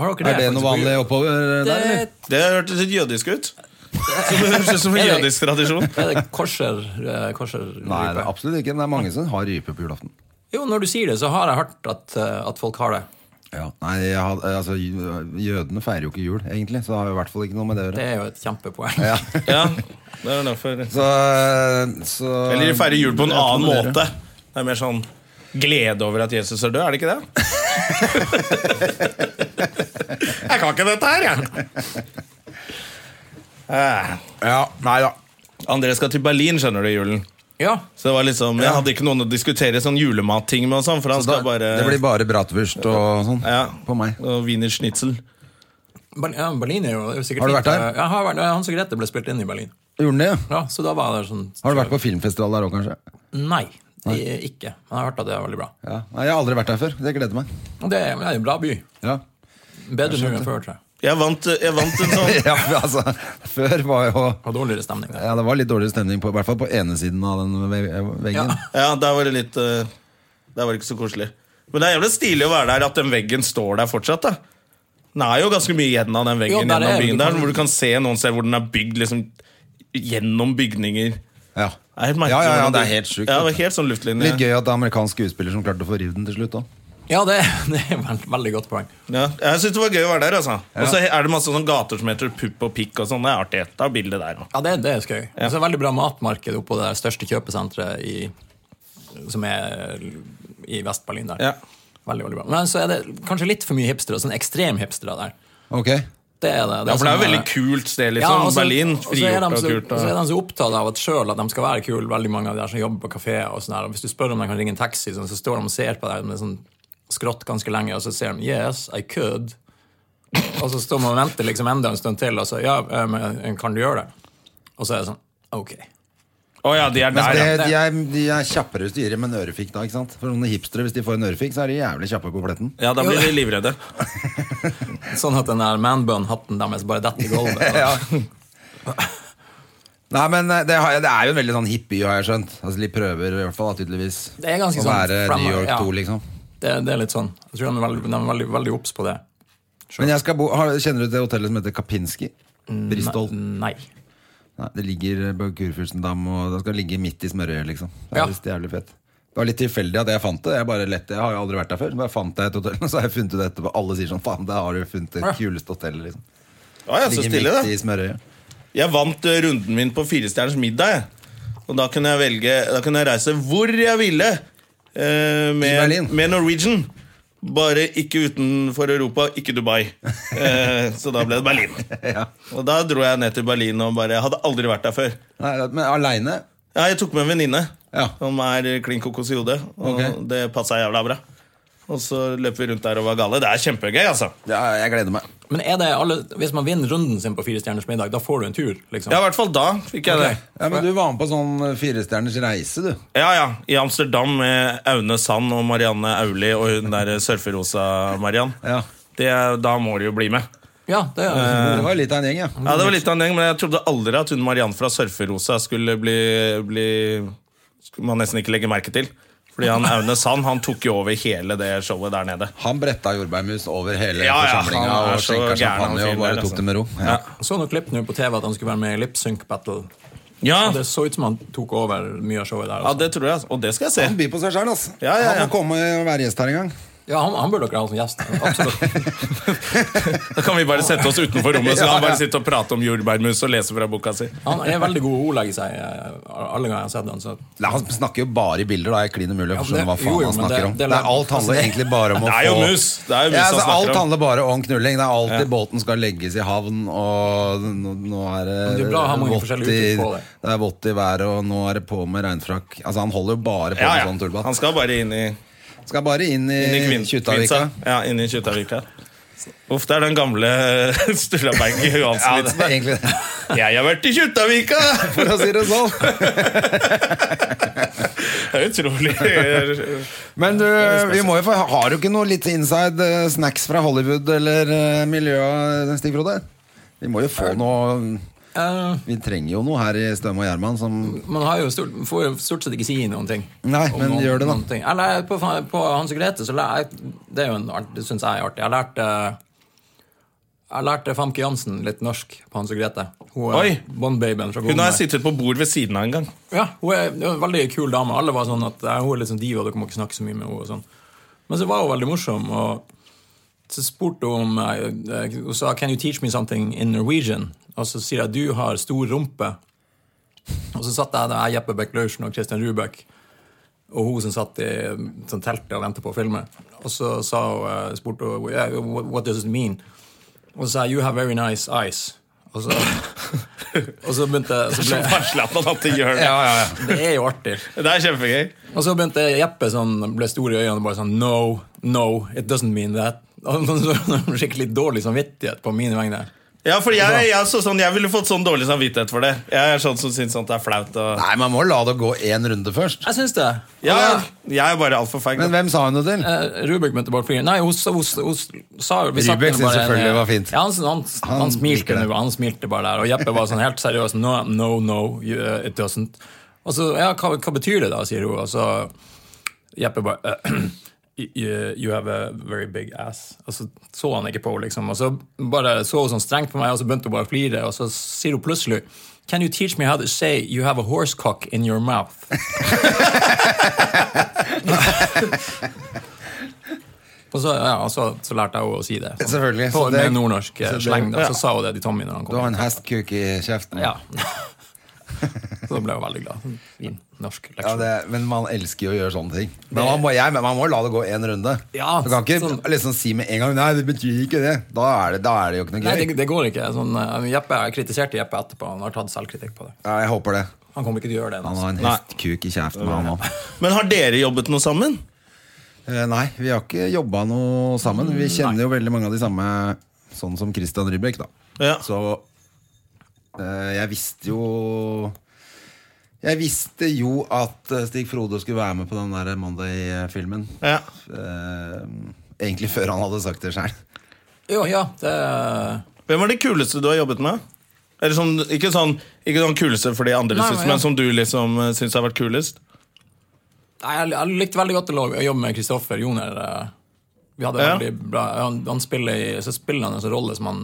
Har dere Er det noe vanlig oppover der, eller? Det, Det hørtes litt jødisk ut. Som det høres ut som en Er det- jødisk tradisjon. er det korser, eh, korser Nei, det er absolutt ikke. Det er mange som har rype på julaften. Jo, når du sier det, så har jeg hørt at, eh, at folk har det. Ja. Nei, jeg har, altså, Jødene feirer jo ikke jul, egentlig, så det har jo i hvert fall ikke noe med det å Det gjøre. er jo et kjempepoeng. Ja. Ja, det er derfor. Så, så Eller de feirer jul på en Jeg annen tolererer. måte. Det er mer sånn glede over at Jesus er død, er det ikke det? jeg kan ikke dette her, jeg. Eh, Ja, nei da. André skal til Berlin, skjønner du, i julen. Ja, Så det var liksom, Jeg hadde ikke noen å diskutere sånn julematting med. og sånn, for han Da, skal bare... Det blir bare bratwurst og sånn ja, på meg. Og wiener schnitzel. Ber- ja, Berlin er jo det er jo sikkert Har du vært fint. der? Eh, Ja, jeg har vært, Hans og Grete ble spilt inn i Berlin. Gjorde den det? ja? Ja, så da var jeg der sånn Har du vært på filmfestival der òg, kanskje? Nei, i- ikke. Men jeg har hørt at det er veldig bra. Ja. Nei, jeg har aldri vært der før. Det gleder meg. Og det er det er en bra by. Ja. Bedre nå enn før, tror jeg. Jeg vant, jeg vant en sånn ja, men altså, før var jo Og dårligere stemning. Der. ja, Det var litt dårlig stemning, på, i hvert fall på ene siden av den ve- veggen. Ja. Ja, der var det litt eh, Der var det ikke så koselig. Men det er jævlig stilig å være der at den veggen står der fortsatt. da Den er jo ganske mye igjen av den veggen Jo, der er- gjennom byen der, hvor du kan se noen steder hvor den er bygd liksom gjennom bygninger. Det Ja. er helt merkelig ja, ja, ja, hvordan det er helt sjukt. Ja, det var helt sånn luftlinje. Litt gøy at det er amerikansk skuespiller som klarte å få rivd den til slutt òg. Ja, det, det er et veld, veldig godt poeng. Ja, jeg syns det var gøy å være der. altså Og så er det masse sånne gater som heter Pupp og Pikk og sånn. Det er artig. Ta bilde der òg. Ja, det, det er skøy. Og så er det veldig bra matmarked oppå det største kjøpesenteret i, som er i Vest-Berlin der. Ja. Veldig, veldig bra. Men så er det kanskje litt for mye hipstere, sånn ekstrem hipstere der. Ok, Det er det. Ja, for det er jo sånn, veldig eh, kult sted, ja, liksom. og så- Berlin. og så er de Frigjort og så- kult. og Så er Og... de så opptatt av at selv at de skal være kule, veldig mange av de der som jobber på kafé. Og sånn der, og hvis du spør om de kan ringe en taxi, sånn, så står de og ser på deg med sånn skrått ganske lenge, og så ser de 'Yes, I could'. Og så står man og venter liksom enda en stund til, og så 'Ja, eh, men kan du gjøre det?' Og så er det sånn 'Ok'. Å ja, de er Mens der, ja. det, de, er, de er kjappere styre med en ørefik da, ikke sant? For sånne hipstere, hvis de får en ørefik, så er de jævlig kjappe på pletten. Ja, da blir de livredde. Sånn at den der manbun-hatten deres bare detter i gulvet. Ja. Nei, men eh, det, har, jeg- det er jo en veldig sånn hippie, har jeg skjønt. Altså, de prøver i hvert fall, da, tydeligvis. Det er ganske å sånn være fremme- New York ja. 2, liksom. Det, det er litt sånn. Jeg tror de er veldig, de er veldig, veldig obs på det. Men jeg skal bo, har, Kjenner du til hotellet som heter Kapinski? Mm, Bristol? Nei. Nei, det ligger eh, på Kurfürstendam, og det skal ligge midt i smørøyet, liksom. Det er Ja. visst jævlig fett. Det var litt tilfeldig at jeg fant det. Jeg bare lette, jeg har jo aldri vært der før. Så bare fant jeg et hotell, og så har jeg funnet det etterpå. Alle sier sånn, faen, der har du funnet det Ja. kuleste hotellet, liksom. Å ja, så Ligger stille, da. midt i smørøyet. Jeg vant eh, runden min på Firestjerners middag. jeg. Og da kunne jeg velge Da kunne jeg reise hvor jeg ville eh, med, Berlin. med Norwegian. Bare ikke utenfor Europa, ikke Dubai. Eh, så da ble det Berlin. Ja. Og da dro jeg ned til Berlin og bare Jeg hadde aldri vært der før. Nei, men aleine? Ja, jeg tok med en venninne Ja. som er klin kokos i hodet, og Ok. det passa jævla bra. Og så løp vi rundt der og var gale. Det er kjempegøy, altså. ja, jeg gleder meg. Men er det alle, hvis man vinner runden sin på Fire stjerners middag, da får du en tur? liksom? Ja, i hvert fall da fikk jeg Ok. det. Ja, men du var med på sånn eh, firestjerners reise, du. Ja, ja. I Amsterdam med Aune Sand og Marianne Auli og hun der surferosa Mariann. Ja. Det, da må du jo bli med. Ja, det er Det var litt av en gjeng, ja. Ja, det var litt av en gjeng, men jeg trodde aldri at hun Mariann fra Surferosa skulle bli, bli Skulle man nesten ikke legge merke til. Fordi han Aune Sand han tok jo over hele det showet der nede. Han bretta jordbærmus over hele Ja, ja, forsamlinga han er og så skjenka gæren, han champagne fyren og bare der, tok altså. det med ro. Ja. Ja. Jeg så noe klipp nå på TV at han skulle være med i Lip Sync Battle. Ja, Og det så ut som han tok over mye av showet der. ja altså. det tror jeg. altså. Og det skal jeg se. Han byr på seg sjøl, altså. Ja, ja, ja. Han må komme og være gjest her en gang. Ja, han, han burde dere ha som gjest. Absolutt. Da kan vi bare sette oss utenfor rommet, så kan han bare sitte og prate om jordbærmus og lese fra boka si. Han er veldig god å ordlegge seg, eh, alle ganger jeg har sett han, så Nei, Han snakker jo bare i bilder, da. Jeg er klin umulig å Ja, skjønne men hva det- faen jo, jo, han men det- snakker om. Det, det- er Alt handler egentlig bare om å Det få er jo mus. Det er jo mus ja, han altså, snakker alt om. handler bare om knulling. Det er alltid båten skal legges i havn, og nå, nå er det Men det er bra å ha mange vått forskjellige i- uttrykk på det. Det er vått i været, og nå er det på med regnfrakk. Altså, han holder jo bare på Ja, med ja. sånn Han tullbatt. skal bare inn i Skal bare inn Inni i Kvin- Kjuttaviga. Kvinsa. Ja, inni Kjuttaviga. Uff, det er den gamle Stullaberg Ja, det Johansen-vitsen. er egentlig det, jeg har vært i Kjuttaviga! for å si det sånn. Det er utrolig Men du, vi må jo få Har du ikke noe litt inside eh, snacks fra Hollywood eller eh, miljøet, Stig Frode? Vi må jo få noe Eh, Vi trenger jo noe her i Støme og Gjerman som Man har jo stort, får jo stort sett ikke si noen ting. Nei, Om men gjør det da. noen ting. Jeg lær- på, på Hans og Grete så lær, Det er jo en art, det syns jeg er artig. Jeg lærte jeg lærte Famke Jansen litt norsk på Hans og Grete. Hun er Oi! Bond-babyen fra Hun har Bonde. jeg sittet på bord ved siden av en gang. Ja, hun er, hun er en veldig kul dame. Alle var sånn at ja, Hun er litt sånn diva, dere må ikke snakke så mye med henne. og sånn. Men så var hun veldig morsom. og Så spurte hun om eh, eh, Hun sa 'Can you teach me something in Norwegian?' Og så sier jeg 'Du har stor rumpe'. Og så satt jeg der, jeg, Jeppe Beck-Laursen og Christian Rubek og hun som satt i eh, sånn teltet og ventet på å filme. Og så sa hun, eh, spurte hun yeah, what, 'What does it mean?' Og så sa jeg 'You have very nice eyes'. Og så, og så begynte så Så ble, varslet han at det gjør det. Det er jo artig. Det er kjempegøy. Og så begynte Jeppe sånn, ble stor i øynene og bare sånn No, no, it doesn't mean that. Og så- så- Skikkelig dårlig samvittighet på mine vegne. Ja, for jeg, jeg, så sånn, jeg ville fått sånn dårlig samvittighet for det. Jeg er sånn som syns sånt er flaut. Og... Nei, man må la det gå én runde først. Jeg syns det. Ja, Og, jeg er bare altfor feig. da. Men hvem sa hun det til? eh, Rubik møtte Bård Frie. Nei, hun sa Rubik Rubik synes selvfølgelig var fint. eh, Ja, han, han, han, Han liker smilte det. nå, han smilte bare der. Og Jeppe var sånn helt seriøs. No, no, no you, uh, it doesn't. Og så, ja, hva, hva betyr det da, sier hun. Og så Jeppe bare You you have a very big ass. Og så så han ikke på henne, liksom. Og så bare så hun sånn strengt på meg, og så begynte hun bare å flire. Og så sier hun plutselig Can you teach me how to say you have a horse cock in your mouth? Og så, ja, og så, så lærte jeg henne å si det. sånn. Selvfølgelig, så På, det- med nordnorsk eh, så det- sleng. da. ja. Så sa hun det til Tommy når han Du har kom. en hestkuk i kjeften. Ja. så da ble hun veldig glad. Fin norsk leksjon. Ja, det, men man elsker jo å gjøre sånne ting. Men man må, jeg, men man må la det gå én runde. Ja, du kan ikke sånn. liksom si med en gang Nei, det betyr ikke det. Da er det, da er det jo ikke noe Nei, gøy. det, det går ikke. Sånn, eh, Jeppe, jeg kritiserte Jeppe etterpå. Han har tatt selvkritikk på det. Ja, jeg håper det. Han kommer ikke til å gjøre det. Han Altså. har en Nei. hestkuk i kjeften. Han, også. Men har dere jobbet noe sammen? Eh, Nei, vi har ikke jobba noe sammen. Mm, Vi kjenner jo veldig mange av de samme, sånn som Christian Rybek, da. Ja. Så eh, jeg visste jo Jeg visste jo at eh, Stig Frode skulle være med på den der Monday-filmen. Ja. Eh, egentlig før han hadde sagt det sjøl. Jo, ja, det, Hvem er det kuleste du har jobbet med? Eller sånn, ikke, sånn, ikke sånn kuleste for de andre, Nei, synes, men ja. men som du liksom eh, syns har vært kulest? Nei, jeg, jeg likte veldig godt å lo- å jobbe med Kristoffer Joner. eh, Vi hadde Ja. veldig bra Han, han spiller i, så spiller han en sånn rolle som han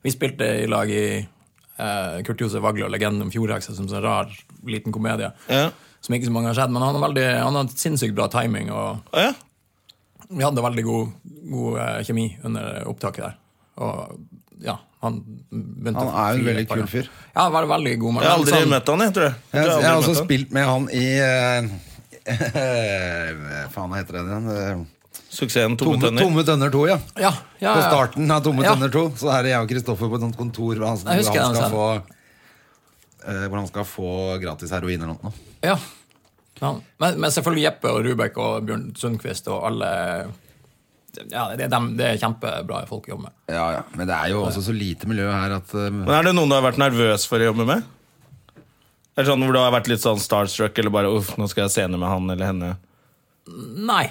Vi spilte i lag i eh, Kurt Josef Vagle og Legenden om Fjordheksa som en sånn rar liten komedie. Ja. Som ikke så mange har sett, men han har, veldig, han har sinnssykt bra timing. Og Å, ja. vi hadde veldig god, god eh, kjemi under opptaket der. Og ja, han begynte Han å er jo en flire veldig et par kul ganger. fyr. Ja, han var veldig god. men Jeg har aldri sånn- møtt han, jeg, tror jeg. jeg. Jeg, tror jeg har også aldri møtt spilt med han i eh, Faen, hva heter det igjen? Eh, han. Suksessen Tomme Tomme, Tønner. tomme tønner 2, ja. Ja, ja, På ja. starten av Tomme Ja. tønner 2 Så er det jeg og Kristoffer på et sånt kontor Hvor han, Jeg husker han skal den få eh, Hvor han skal få gratis heroin eller noe Ja. Ja. Men, men selvfølgelig Jeppe og Rubek og Bjørn Sundquist og alle ja, det, er dem, det er kjempebra folk å jobbe med. ja, ja. Men det er jo også så lite miljø her at, eh, Men Er det noen du har vært nervøs for å jobbe med? Eller sånn Hvor du har vært litt sånn starstruck eller bare uff, nå skal jeg scene med han eller henne? Nei,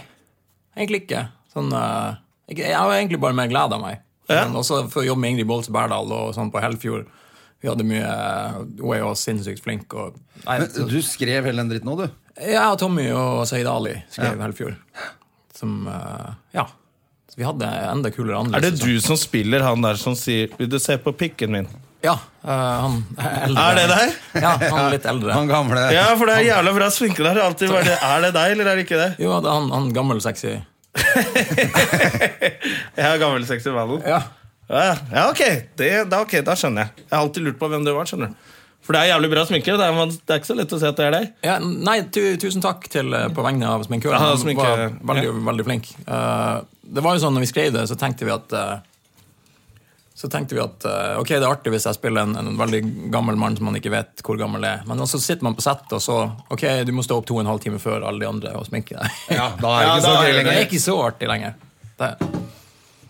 egentlig ikke. Sånn, eh, ikke- jeg har egentlig bare mer glede av meg. Ja. Men også for å jobbe med Ingrid Bolts Berdal og sånn på Hellfjord. Vi hadde mye Hun er jo sinnssykt flink. Og, nei, men så, Du skrev hele den dritten nå, du jeg og Tommy og Saeed Ali skrev Hellfjord. Som eh, Ja. Så vi hadde enda kulere annerledes. Er det du som spiller han der som sier 'vil du se på pikken min'? Ja. eh, han eldre. Er det deg? Ja, han er litt eldre. Han gamle Ja, for det er jævla bra sminke der. det er Alltid bare, er det deg, eller er det ikke det? Jo, det er han, han gammel sexy. Jeg er gammel sexy valen. Ja. Ja, ja ok. Det, da, ok, da skjønner jeg. Jeg har alltid lurt på hvem det var. skjønner du For det er jævlig bra sminke. Det er, man- det er ikke så lett å se at det er deg. nei, tu, tusen takk til, eh, på vegne av sminkøren. Ja, Han sminke- var veldig, veldig flink. Eh, det var jo sånn, når vi skrev det, så tenkte vi at eh, så tenkte vi at eh, ok, det er artig hvis jeg spiller en, en veldig gammel mann som man ikke vet hvor gammel er. Men så sitter man på settet, og så ok, du må stå opp to og en halv time før alle de andre og sminke deg. Ja, da er det Ja, ikke da så er det gøy det lenger er ikke så artig lenger. Det,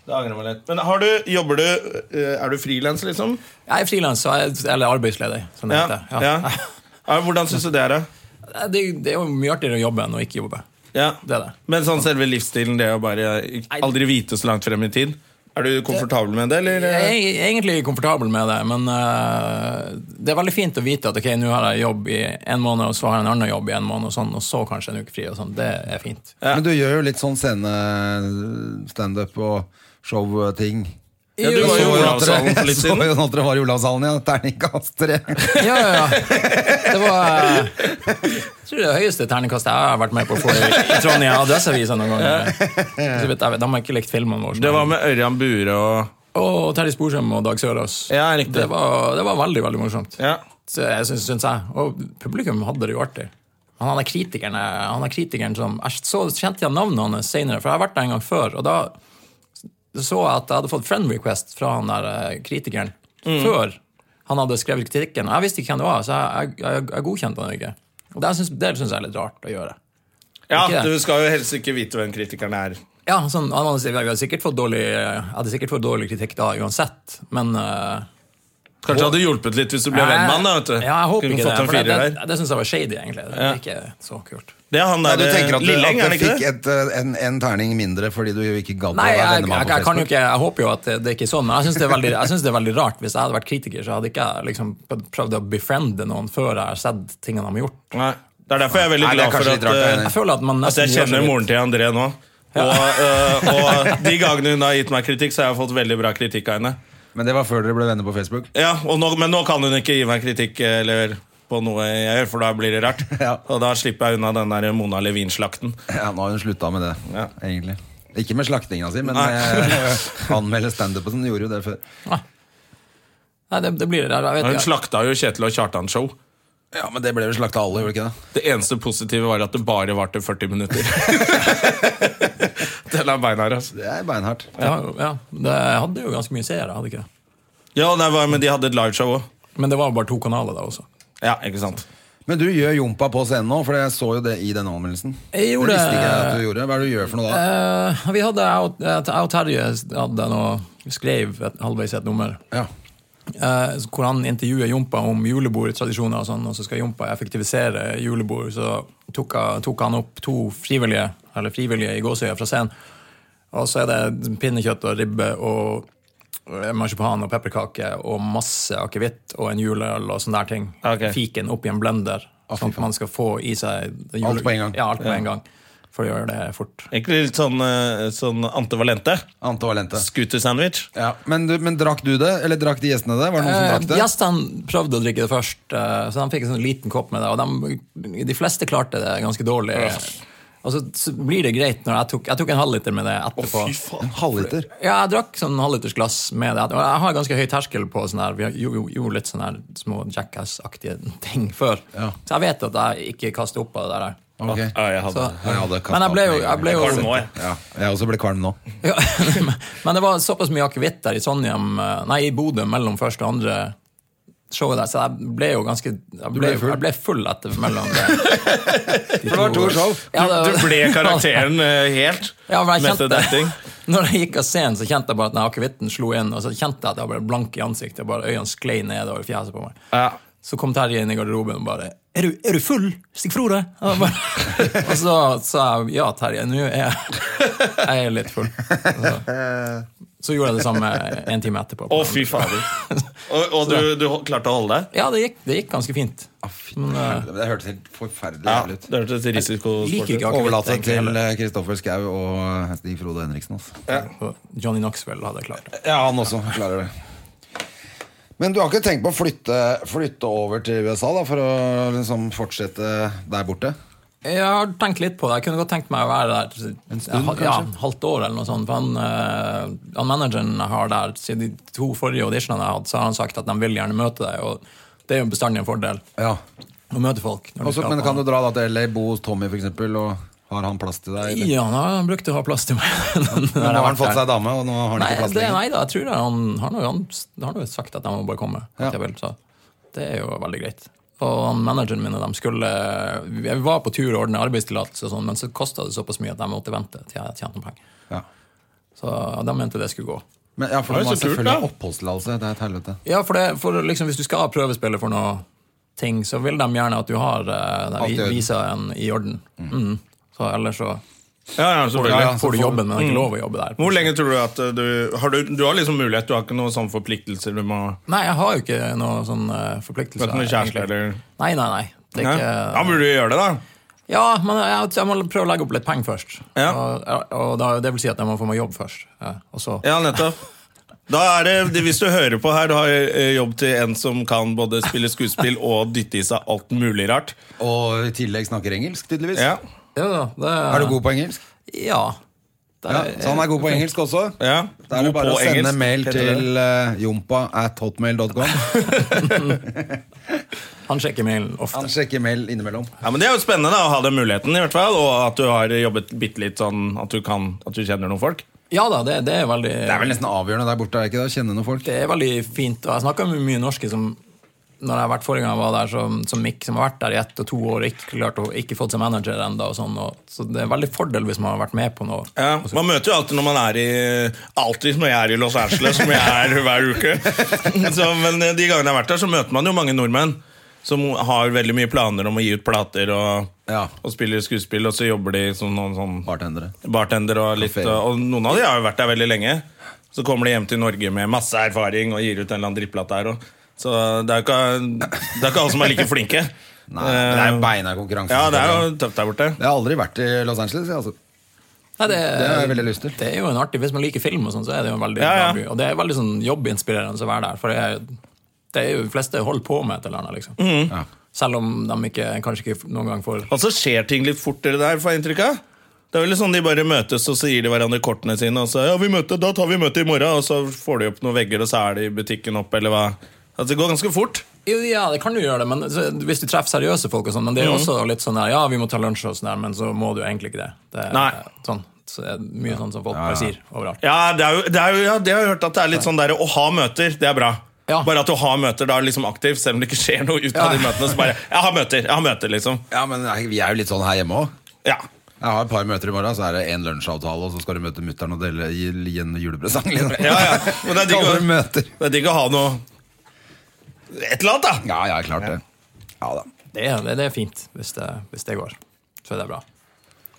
Det angrer jeg meg litt. Men har du, jobber du eh, Er du frilans, liksom? jeg er frilans, eller arbeidsledig, som det Ja. heter. ja. Ja, hvordan syns du det er, da? Det, det er jo mye artigere å jobbe enn å ikke jobbe. Ja. Det er det. Men sånn selve livsstilen, det å bare eh, aldri vite så langt frem i tid Er du komfortabel med det, eller? eh? Jeg er eg- egentlig komfortabel med det, men eh, det er veldig fint å vite at ok, nå har jeg jobb i en måned, og så har jeg en annen jobb i en måned, og sånn, og så kanskje en uke fri. og sånn, Det er fint. Men du gjør jo litt sånn scene Stand-up og show-ting Ja, du Jo, var Så jo sånn. i jo at Olavshallen for dere- litt så siden. jo at dere var i Olavshallen, ja Terningkast 3 Ja, ja, ja. Det var eh, Jeg tror det er det høyeste terningkastet jeg har vært med på å få i, i Trondheim Adresseavisa noen gang. Så vidt jeg vet, De har ikke likt filmen vår. Det var med Ørjan Bure og Og Terje Sporsem og Dag Sørås. Ja, riktig. Det var, det var veldig, veldig morsomt. Ja. Så jeg synes, synes jeg. Og publikum hadde det jo artig. Men han er kritikeren, eh, han er kritikeren som Jeg så kjente jeg navnet hans senere, for jeg har vært der en gang før. Og da så jeg at jeg hadde fått friend request fra han der eh, kritikeren Mm. før han hadde skrevet kritikken. Jeg visste ikke hvem det var, så jeg, jeg, jeg, jeg godkjente han ikke. Og det syns det synes jeg er litt rart å gjøre. Ja, Ikke det. du skal jo helst ikke vite hvem kritikeren er. Ja, sånn, han hadde, vi hadde sikkert fått dårlig, jeg hadde sikkert fått dårlig kritikk da uansett, men eh, Kanskje det hadde hjulpet litt hvis du ble venn med han. da, vet du. Ja, jeg håper Kunne ikke det. fått en For det, firer det, der. det syns jeg var shady, egentlig. Det Ja. er ikke så kult. Det er han Nei, der du tenker at du, Lilleng, er at det du ikke fikk det? et, eh, en, en terning mindre fordi du ikke gadd å Nei, være jeg, jeg, venner med ham på jeg, kan jo Facebook? ikke, jeg håper jo at det, det er ikke er sånn, men jeg syns det, er veldig- jeg synes det er veldig rart. Hvis jeg hadde vært kritiker, så hadde ikke jeg liksom prøvd å befriende noen før jeg har sett tingene de har gjort. Nei. Det er derfor jeg er veldig Nei, det glad er for kanskje at, litt rart, eh, det er Jeg føler at man at nesten jeg gjør så kjenner vidt. moren til André nå. Og, eh, og de gangene hun har gitt meg kritikk, så har jeg fått veldig bra kritikk av henne. Men det var før dere ble venner på Facebook? Ja, og nå, Men nå kan hun ikke gi meg kritikk eller på noe jeg gjør, for da blir det rart. Ja. Og da slipper jeg unna den der Mona Levin-slakten. Ja, nå har hun slutta med det, Ja. egentlig. Ikke med slaktinga si, men Nei. eh, anmelde standupen. Hun gjorde jo det før. Nei, det, det blir det. Jeg vet Hun ikke. slakta jo Kjetil og Kjartan-show. Ja, men det ble vel slakta alle, gjorde det ikke det? Det eneste positive var at det bare varte 40 minutter. Den er beinhard, altså. Det er beinhardt. Ja, ja, det hadde jo ganske mye seere, hadde ikke det? Ja, nei, hva- men de hadde et liveshow òg. Men det var jo bare to kanaler da også. Ja, ikke sant. Men du gjør jompa på scenen nå, for jeg så jo det i den anmeldelsen. Jeg gjorde- Det visste ikke jeg at du gjorde. Hva er det du gjør for noe da? Eh, vi hadde, jeg og- jeg og Terje hadde noe, skrev et, halvveis et nummer Ja. eh, hvor han intervjuer Jompa om julebordtradisjoner og sånn, og så skal Jompa effektivisere julebord. Så tok, han- tok han opp to frivillige, eller frivillige i gåsøya fra scenen. Og så er det pinnekjøtt og ribbe og eh, marsipan og pepperkake og masse akevitt og en juleøl og sånne der ting. Ok. Fiken opp i en blender, Ah, fy sånn at faen. man skal få i seg jule- Alt på en gang. Ja, alt på en gang. For å gjøre det fort. Egentlig litt sånn, eh, sånn Ante Valente. Ante Valente. Scooter-sandwich. Ja. Men, du, men drakk du det? Eller drakk de gjestene det? Var det noen som Eh, drakk det? Gjestene prøvde å drikke det først, eh, så de fikk en sånn liten kopp med det. Og de, de fleste klarte det ganske dårlig. Og så, så blir det greit når jeg tok, jeg tok en halvliter med det etterpå. En halvliter. ja, jeg drakk sånn halvliters glass med det. Og jeg har ganske høy terskel på sånn her. Vi har jo, jo, gjorde litt sånne her små Jackass-aktige ting før. Ja. Så jeg vet at jeg ikke kaster opp av det der. Ok. Ja, jeg hadde. Så, Jeg hadde kastet men jeg ble opp jo, med en jeg ble gang. jo Kvalm nå, jeg. Ja, jeg også ble kvalm nå. Ja, men- men det var såpass mye akevitt der i Trondheim, eh, nei, i Bodø mellom første og andre showet der, så jeg ble jo ganske Jeg ble, ble full? Jeg ble full etter mellom det. De det var to show. Ja, Du det- ble karakteren eh, helt. Ja, men jeg Method acting. kjente, når jeg gikk av scenen, så kjente jeg bare at den akevitten slo inn, og så kjente jeg at jeg ble blank i ansiktet, og bare øynene sklei nedover fjeset på meg. Ja. Så kom Terje inn i garderoben og bare Er du, er du full? Stikk fra deg! Og, jeg bare, og så sa jeg ja, Terje, nå er jeg, jeg er litt full. Så. Så gjorde jeg det samme en time etterpå. Å, fy fader. Og, og du, du ho- klarte å holde deg? Ja, det gikk, det gikk ganske fint. Men, eh, Ah, Det hørtes helt forferdelig Ja, jævlig ut. det hørtes liker risikosport ikke ut. akevitt, Overlate egentlig, til heller. eh, Kristoffer Schau og eh, Stig Frode Henriksen. Altså. Så Johnny Knoxville hadde jeg klart. det. Ja, han også klarer det. Men du har ikke tenkt på å flytte, flytte over til USA da, for å liksom fortsette der borte? Jeg har tenkt litt på det. Jeg kunne godt tenkt meg å være der en stund, ja, kanskje? halvt år eller noe sånt. For han, eh, han manageren jeg har der, siden de to forrige auditionene jeg har hatt, så har han sagt at de vil gjerne møte deg, og det er jo bestandig en fordel Ja. å møte folk. når du Også, skal men på- kan du dra da til LA, bo hos Tommy f.eks., og har han plass til deg? Eller? Ja, han har brukt å ha plass til meg. Men Men nå har han fått seg dame, og nå har han Nei, ikke plass det, lenger. nei da, jeg tror det. Han har nå han, har nå sagt at jeg må bare komme. Ja. At jeg vil, så det er jo veldig greit. Og han manageren min og de skulle Vi var på tur og ordne arbeidstillatelse, og sånn, men så kosta det såpass mye at jeg måtte vente til jeg tjente noen penger. Ja. Så de mente det skulle gå. Men, ja, for Det er han jo har så kult, selvfølgelig da. oppholdstillatelse. Det er et helvete. Ja, for, det, for liksom, Hvis du skal prøvespille for noe ting, så vil de gjerne at du har eh, Alt i den orden. visaen i orden. Mm. Så ellers så Ja, ja, selvfølgelig. Ja, ja. så får du får- Mm. jobben, men det er ikke lov å jobbe der. Hvor lenge tror du at eh, du har, du, du har liksom mulighet, du har ikke noen sånne forpliktelser du må Nei, jeg har jo ikke noen sånn eh, Du forpliktelse. har ikke noen kjæreste egentlig. eller Nei, nei, nei. Det er Nei? ikke... Ja, burde du gjøre det, da? Ja, men jeg, jeg må prøve å legge opp litt penger først. Ja. Og, og da, det vil si at jeg må få meg jobb først. Ja, og så Ja, nettopp. Da er det, det- Hvis du hører på her, du har eh, jobb til en som kan både spille skuespill og dytte i seg alt mulig rart. Og i tillegg snakker engelsk, tydeligvis. Ja, Ja da, det, Er du god på engelsk? Ja. Det Ja, er- så han er god på engelsk også? ja. Da er det God bare på å sende engelsk, mail heter det. til uh, jompa at hotmail.com. han sjekker mailen ofte. Han sjekker mail innimellom. Ja, men Det er jo spennende da, å ha den muligheten, i hvert fall, og at du har jobbet bitte litt sånn at du, kan, at du kjenner noen folk. Ja da, det, det er veldig Det er vel nesten avgjørende der borte, er det ikke det? Å kjenne noen folk. det er veldig fint. Og jeg snakker med mye norske som når jeg har vært forrige gang jeg var der som, som Mick, som har vært der i ett og to år og ikke klart å ikke fått seg manager ennå. Sånn, og- så det er en veldig fordel hvis man har vært med på noe. Ja, Og så- man møter jo alltid når man er i Alltid når jeg er i Los Angeles, som jeg er hver uke. Så, men de gangene jeg har vært der, så møter man jo mange nordmenn som har veldig mye planer om å gi ut plater og, Ja. og spiller skuespill, og så jobber de som noen sånn Bartendere. bartender og litt Kafé. Og noen av de har jo vært der veldig lenge. Så kommer de hjem til Norge med masse erfaring og gir ut en eller annen drittplate her. Og, så det er jo ikke, det er ikke alle som er like flinke. Nei, men det er jo Eh, beina konkurranse. Ja, det er jo tøft der borte. Jeg har aldri vært i Los Angeles. jeg, Altså. Nei, det, Det Eh, har jeg veldig lyst til. Det er jo en artig, Hvis man liker film, og sånn, så er det jo en veldig Ja, ja. bra by. Og det er veldig sånn jobbinspirerende å være der. For det er, det er jo de fleste holder på med et eller annet. liksom. Mhm. mm. Ja. Selv om de ikke, kanskje ikke noen gang får Og så skjer ting litt fortere der, får jeg inntrykk av. Det er vel sånn De bare møtes og så gir de hverandre kortene sine. Og så ja, vi møter, da tar vi møte i morgen Og så får de opp noen vegger, og så er de i butikken opp, eller hva. Altså, det går ganske fort. Jo, Ja, det kan du gjøre, det, men så, hvis du treffer seriøse folk og sånn. Men det er jo Mhm. også litt sånn der, ja, vi må ta lunsj og sånn der, men så må du egentlig ikke det. det er, Nei. Sånn, så det er mye sånn som folk bare sier overalt. Ja, det er jo, det er jo ja, det har jeg hørt at det er litt sånn der å ha møter, det er bra. Ja. Bare at du har møter da liksom aktivt, selv om det ikke skjer noe ut av Ja. de møtene. Så bare, jeg har møter, jeg har møter, liksom. ja, men jeg- vi er jo litt sånn her hjemme òg. Ja. Jeg har et par møter i morgen, så er det en lunsjavtale, og så skal du møte mutter'n og dele gi, gi en julepresang. Liksom. Ja, ja. Men det er digg å- Kaller det møter. Det er digg å ha noe Et eller annet, da. Ja, ja, klart det. Ja da. Det, er- det, det er fint, hvis det, hvis det går. Så er det bra.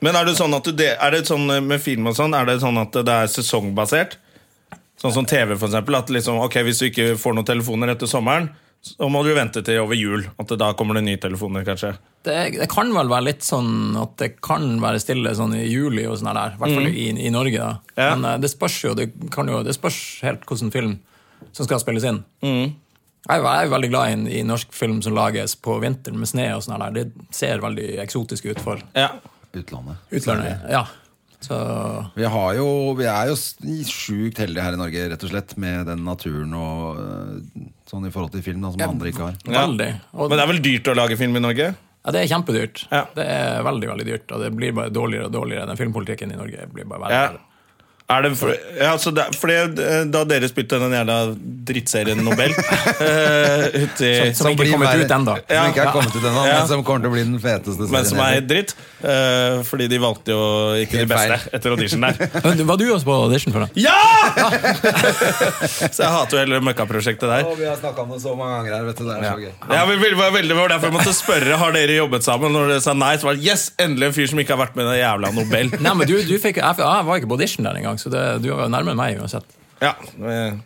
Men er det sånn at du, det- er det sånn med film og sånn, er det sånn at det er sesongbasert? Sånn som TV, for eksempel. At liksom, ok, hvis du ikke får noen telefoner etter sommeren, så må du vente til over jul. At det, da kommer det nye telefoner, kanskje. det, det kan vel være litt sånn at det kan være stille sånn i juli og sånn der, i hvert fall i, i Norge. da. Mm. Ja. Men eh, det spørs jo, det kan jo, det spørs helt hvilken film som skal spilles inn. Mm. Jeg er jo- jeg er jo veldig glad i, en- i norsk film som lages på vinteren med snø og sånn der. Det ser veldig eksotisk ut for Ja. Utlandet. utlandet. Ja. Så Vi, har jo, vi er jo s- sjukt heldige her i Norge, rett og slett, med den naturen og øh, sånn i forhold til film da, som andre ikke har. Ja. veldig. Og Men det er vel dyrt å lage film i Norge? ja, det er kjempedyrt. Ja. Det er veldig, veldig dyrt, og det blir bare dårligere og dårligere. Den filmpolitikken i Norge blir bare verre. Ja. og verre. Er det for, ja, altså det, for det, eh, da dere spilte den jævla drittserien Nobel eh, uti, Som ikke er Blir kommet verre- ut enda. Som ikke er Ja. kommet ut ennå, Ja. men som kommer til å bli den feteste Men som er serien. dritt. eh, fordi de valgte jo ikke de Helt feil. beste etter audition der. Men Var du også på audition for det? Ja! så jeg hater jo hele møkkaprosjektet der. Å, vi har snakka om det så mange ganger her, vet du. Det er så gøy. Ja, men det var veldig det var derfor jeg måtte spørre Har dere jobbet sammen. Når dere sa nei, så var det yes, endelig en fyr som ikke har vært med i den jævla Nobel. Nei, men du, du fikk, jeg, jeg var ikke på audition der engang, så det, du var jo nærmere meg uansett. Ja, eh,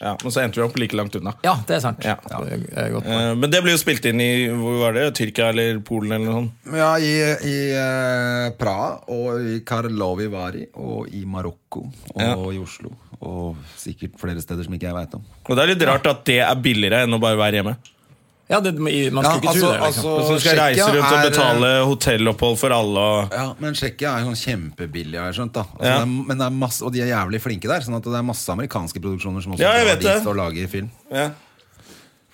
ja, Men så endte vi opp like langt unna. Ja, det er sant. Ja. Det er godt. Eh, Men det ble jo spilt inn i hvor var det, Tyrkia eller Polen eller noe sånt. Ja, i, i eh, Praha og i Karlovy Vary og i Marokko og Ja. i Oslo. Og sikkert flere steder som ikke jeg veit om. Og det er litt rart at det er billigere enn å bare være hjemme. Ja, det, i- man skulle ikke altså, tro det. Liksom. Og så skal jeg reise rundt og betale eh, hotellopphold for alle. Og, eh, Ja, men Tsjekkia er jo sånn kjempebillig, har jeg skjønt. da altså, Ja. det er, Men det er masse, Og de er jævlig flinke der, sånn at det er masse amerikanske produksjoner som også Ja, jeg drar vet dit det. og lager film. ja.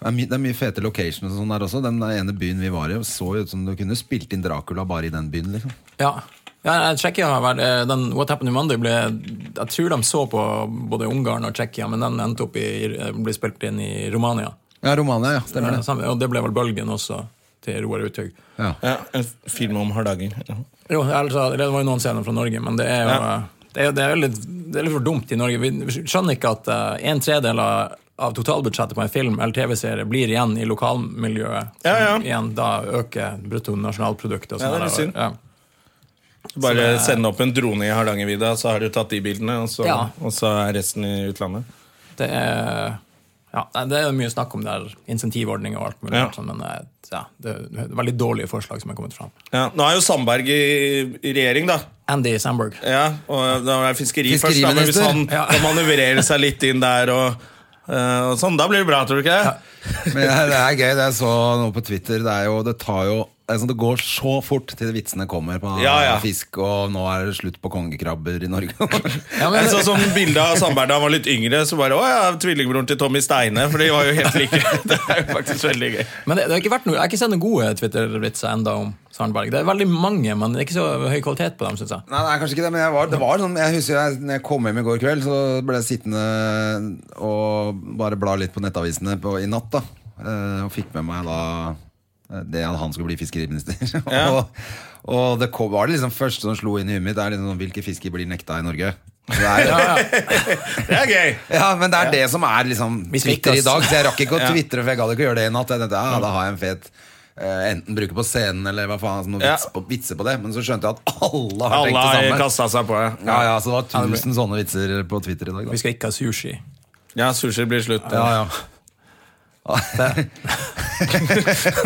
Det er, my, det er mye fete locations og sånn der også. Den der ene byen vi var i, så jo ut som du kunne spilt inn Dracula bare i den byen, liksom. Ja. Ja, jeg- Tsjekkia har vært eh, den What Happened to Monday ble Jeg tror de så på både Ungarn og Tsjekkia, men den endte opp i, ble spilt inn i Romania. Eh, Ja, Romania, ja. Stemmer det. Samme- Og det ble vel bølgen også, til Roar Uthaug. Ja. Ja, en film om Hardanger. Ja. Jo, altså, det var jo noen scener fra Norge, men det er jo Ja. det er, det er, jo litt, det er litt for dumt i Norge. Vi skjønner ikke at eh, en tredel av, av totalbudsjettet på en film eller TV-serie blir igjen i lokalmiljøet. som Ja, ja. Igjen da øker bruttonasjonalproduktet. og Ja, det er sånn litt synd. der. Bare sende opp en drone i Hardangervidda, så har du tatt de bildene, og så, Ja. og så er resten i utlandet. Ja, det er... Ja, nei, det er jo mye snakk om der insentivordninger og alt mulig, Ja. rart sånn, men eh, ja, det er veldig dårlige forslag som er kommet fram. Ja, nå er jo Sandberg i, i regjering, da. Andy Sandberg. Ja, og da er fiskeri først, da, men hvis han Fiskeriminister. Ja. kan manøvrere seg litt inn der og, eh, og sånn, da blir det bra, tror du ikke det? Men det er, det er gøy, det jeg så noe på Twitter. Det, er jo, det, tar jo, det, er sånn, det går så fort til vitsene kommer på Ja, ja. fisk, og nå er det slutt på kongekrabber i Norge. Ja, men- Jeg så sånn bilde av Sandberg da han var litt yngre, så bare Å ja, tvillingbroren til Tommy Steine, for de var jo helt like. Det er jo faktisk veldig gøy. Men det, det har ikke vært noe, jeg har ikke sett noen gode Twitter-vitser enda om Sandberg. Det er veldig mange, men det er ikke så høy kvalitet på dem, synes jeg. Nei, nei, kanskje ikke det, men jeg var, det var sånn Jeg husker jeg, når jeg kom hjem i går kveld, så ble jeg sittende og bare bla litt på nettavisene på, i natt. da eh, og fikk med meg da eh, det at han skulle bli fiskeriminister. og, og det kom, var det liksom første som slo inn i huet mitt, er liksom sånn, hvilke fisker blir nekta i Norge? Det er, Ja, ja. Det er gøy! ja, men det er det som er liksom Vi skal ikke, Twitter i ass. dag. Så jeg rakk ikke å twitre, for jeg gadd ikke å gjøre det i natt. Jeg tenkte, ja, da har jeg en fet eh, Enten bruke på scenen eller hva faen, altså, noe Ja. vits på, vitser på det. Men så skjønte jeg at alle har Alle tenkt det har samme. kasta seg på det. Ja, ja, så det var tusen sånne vitser på Twitter i dag. Vi Da. skal ikke ha sushi. Ja, sushi blir slutt. Ja, ja.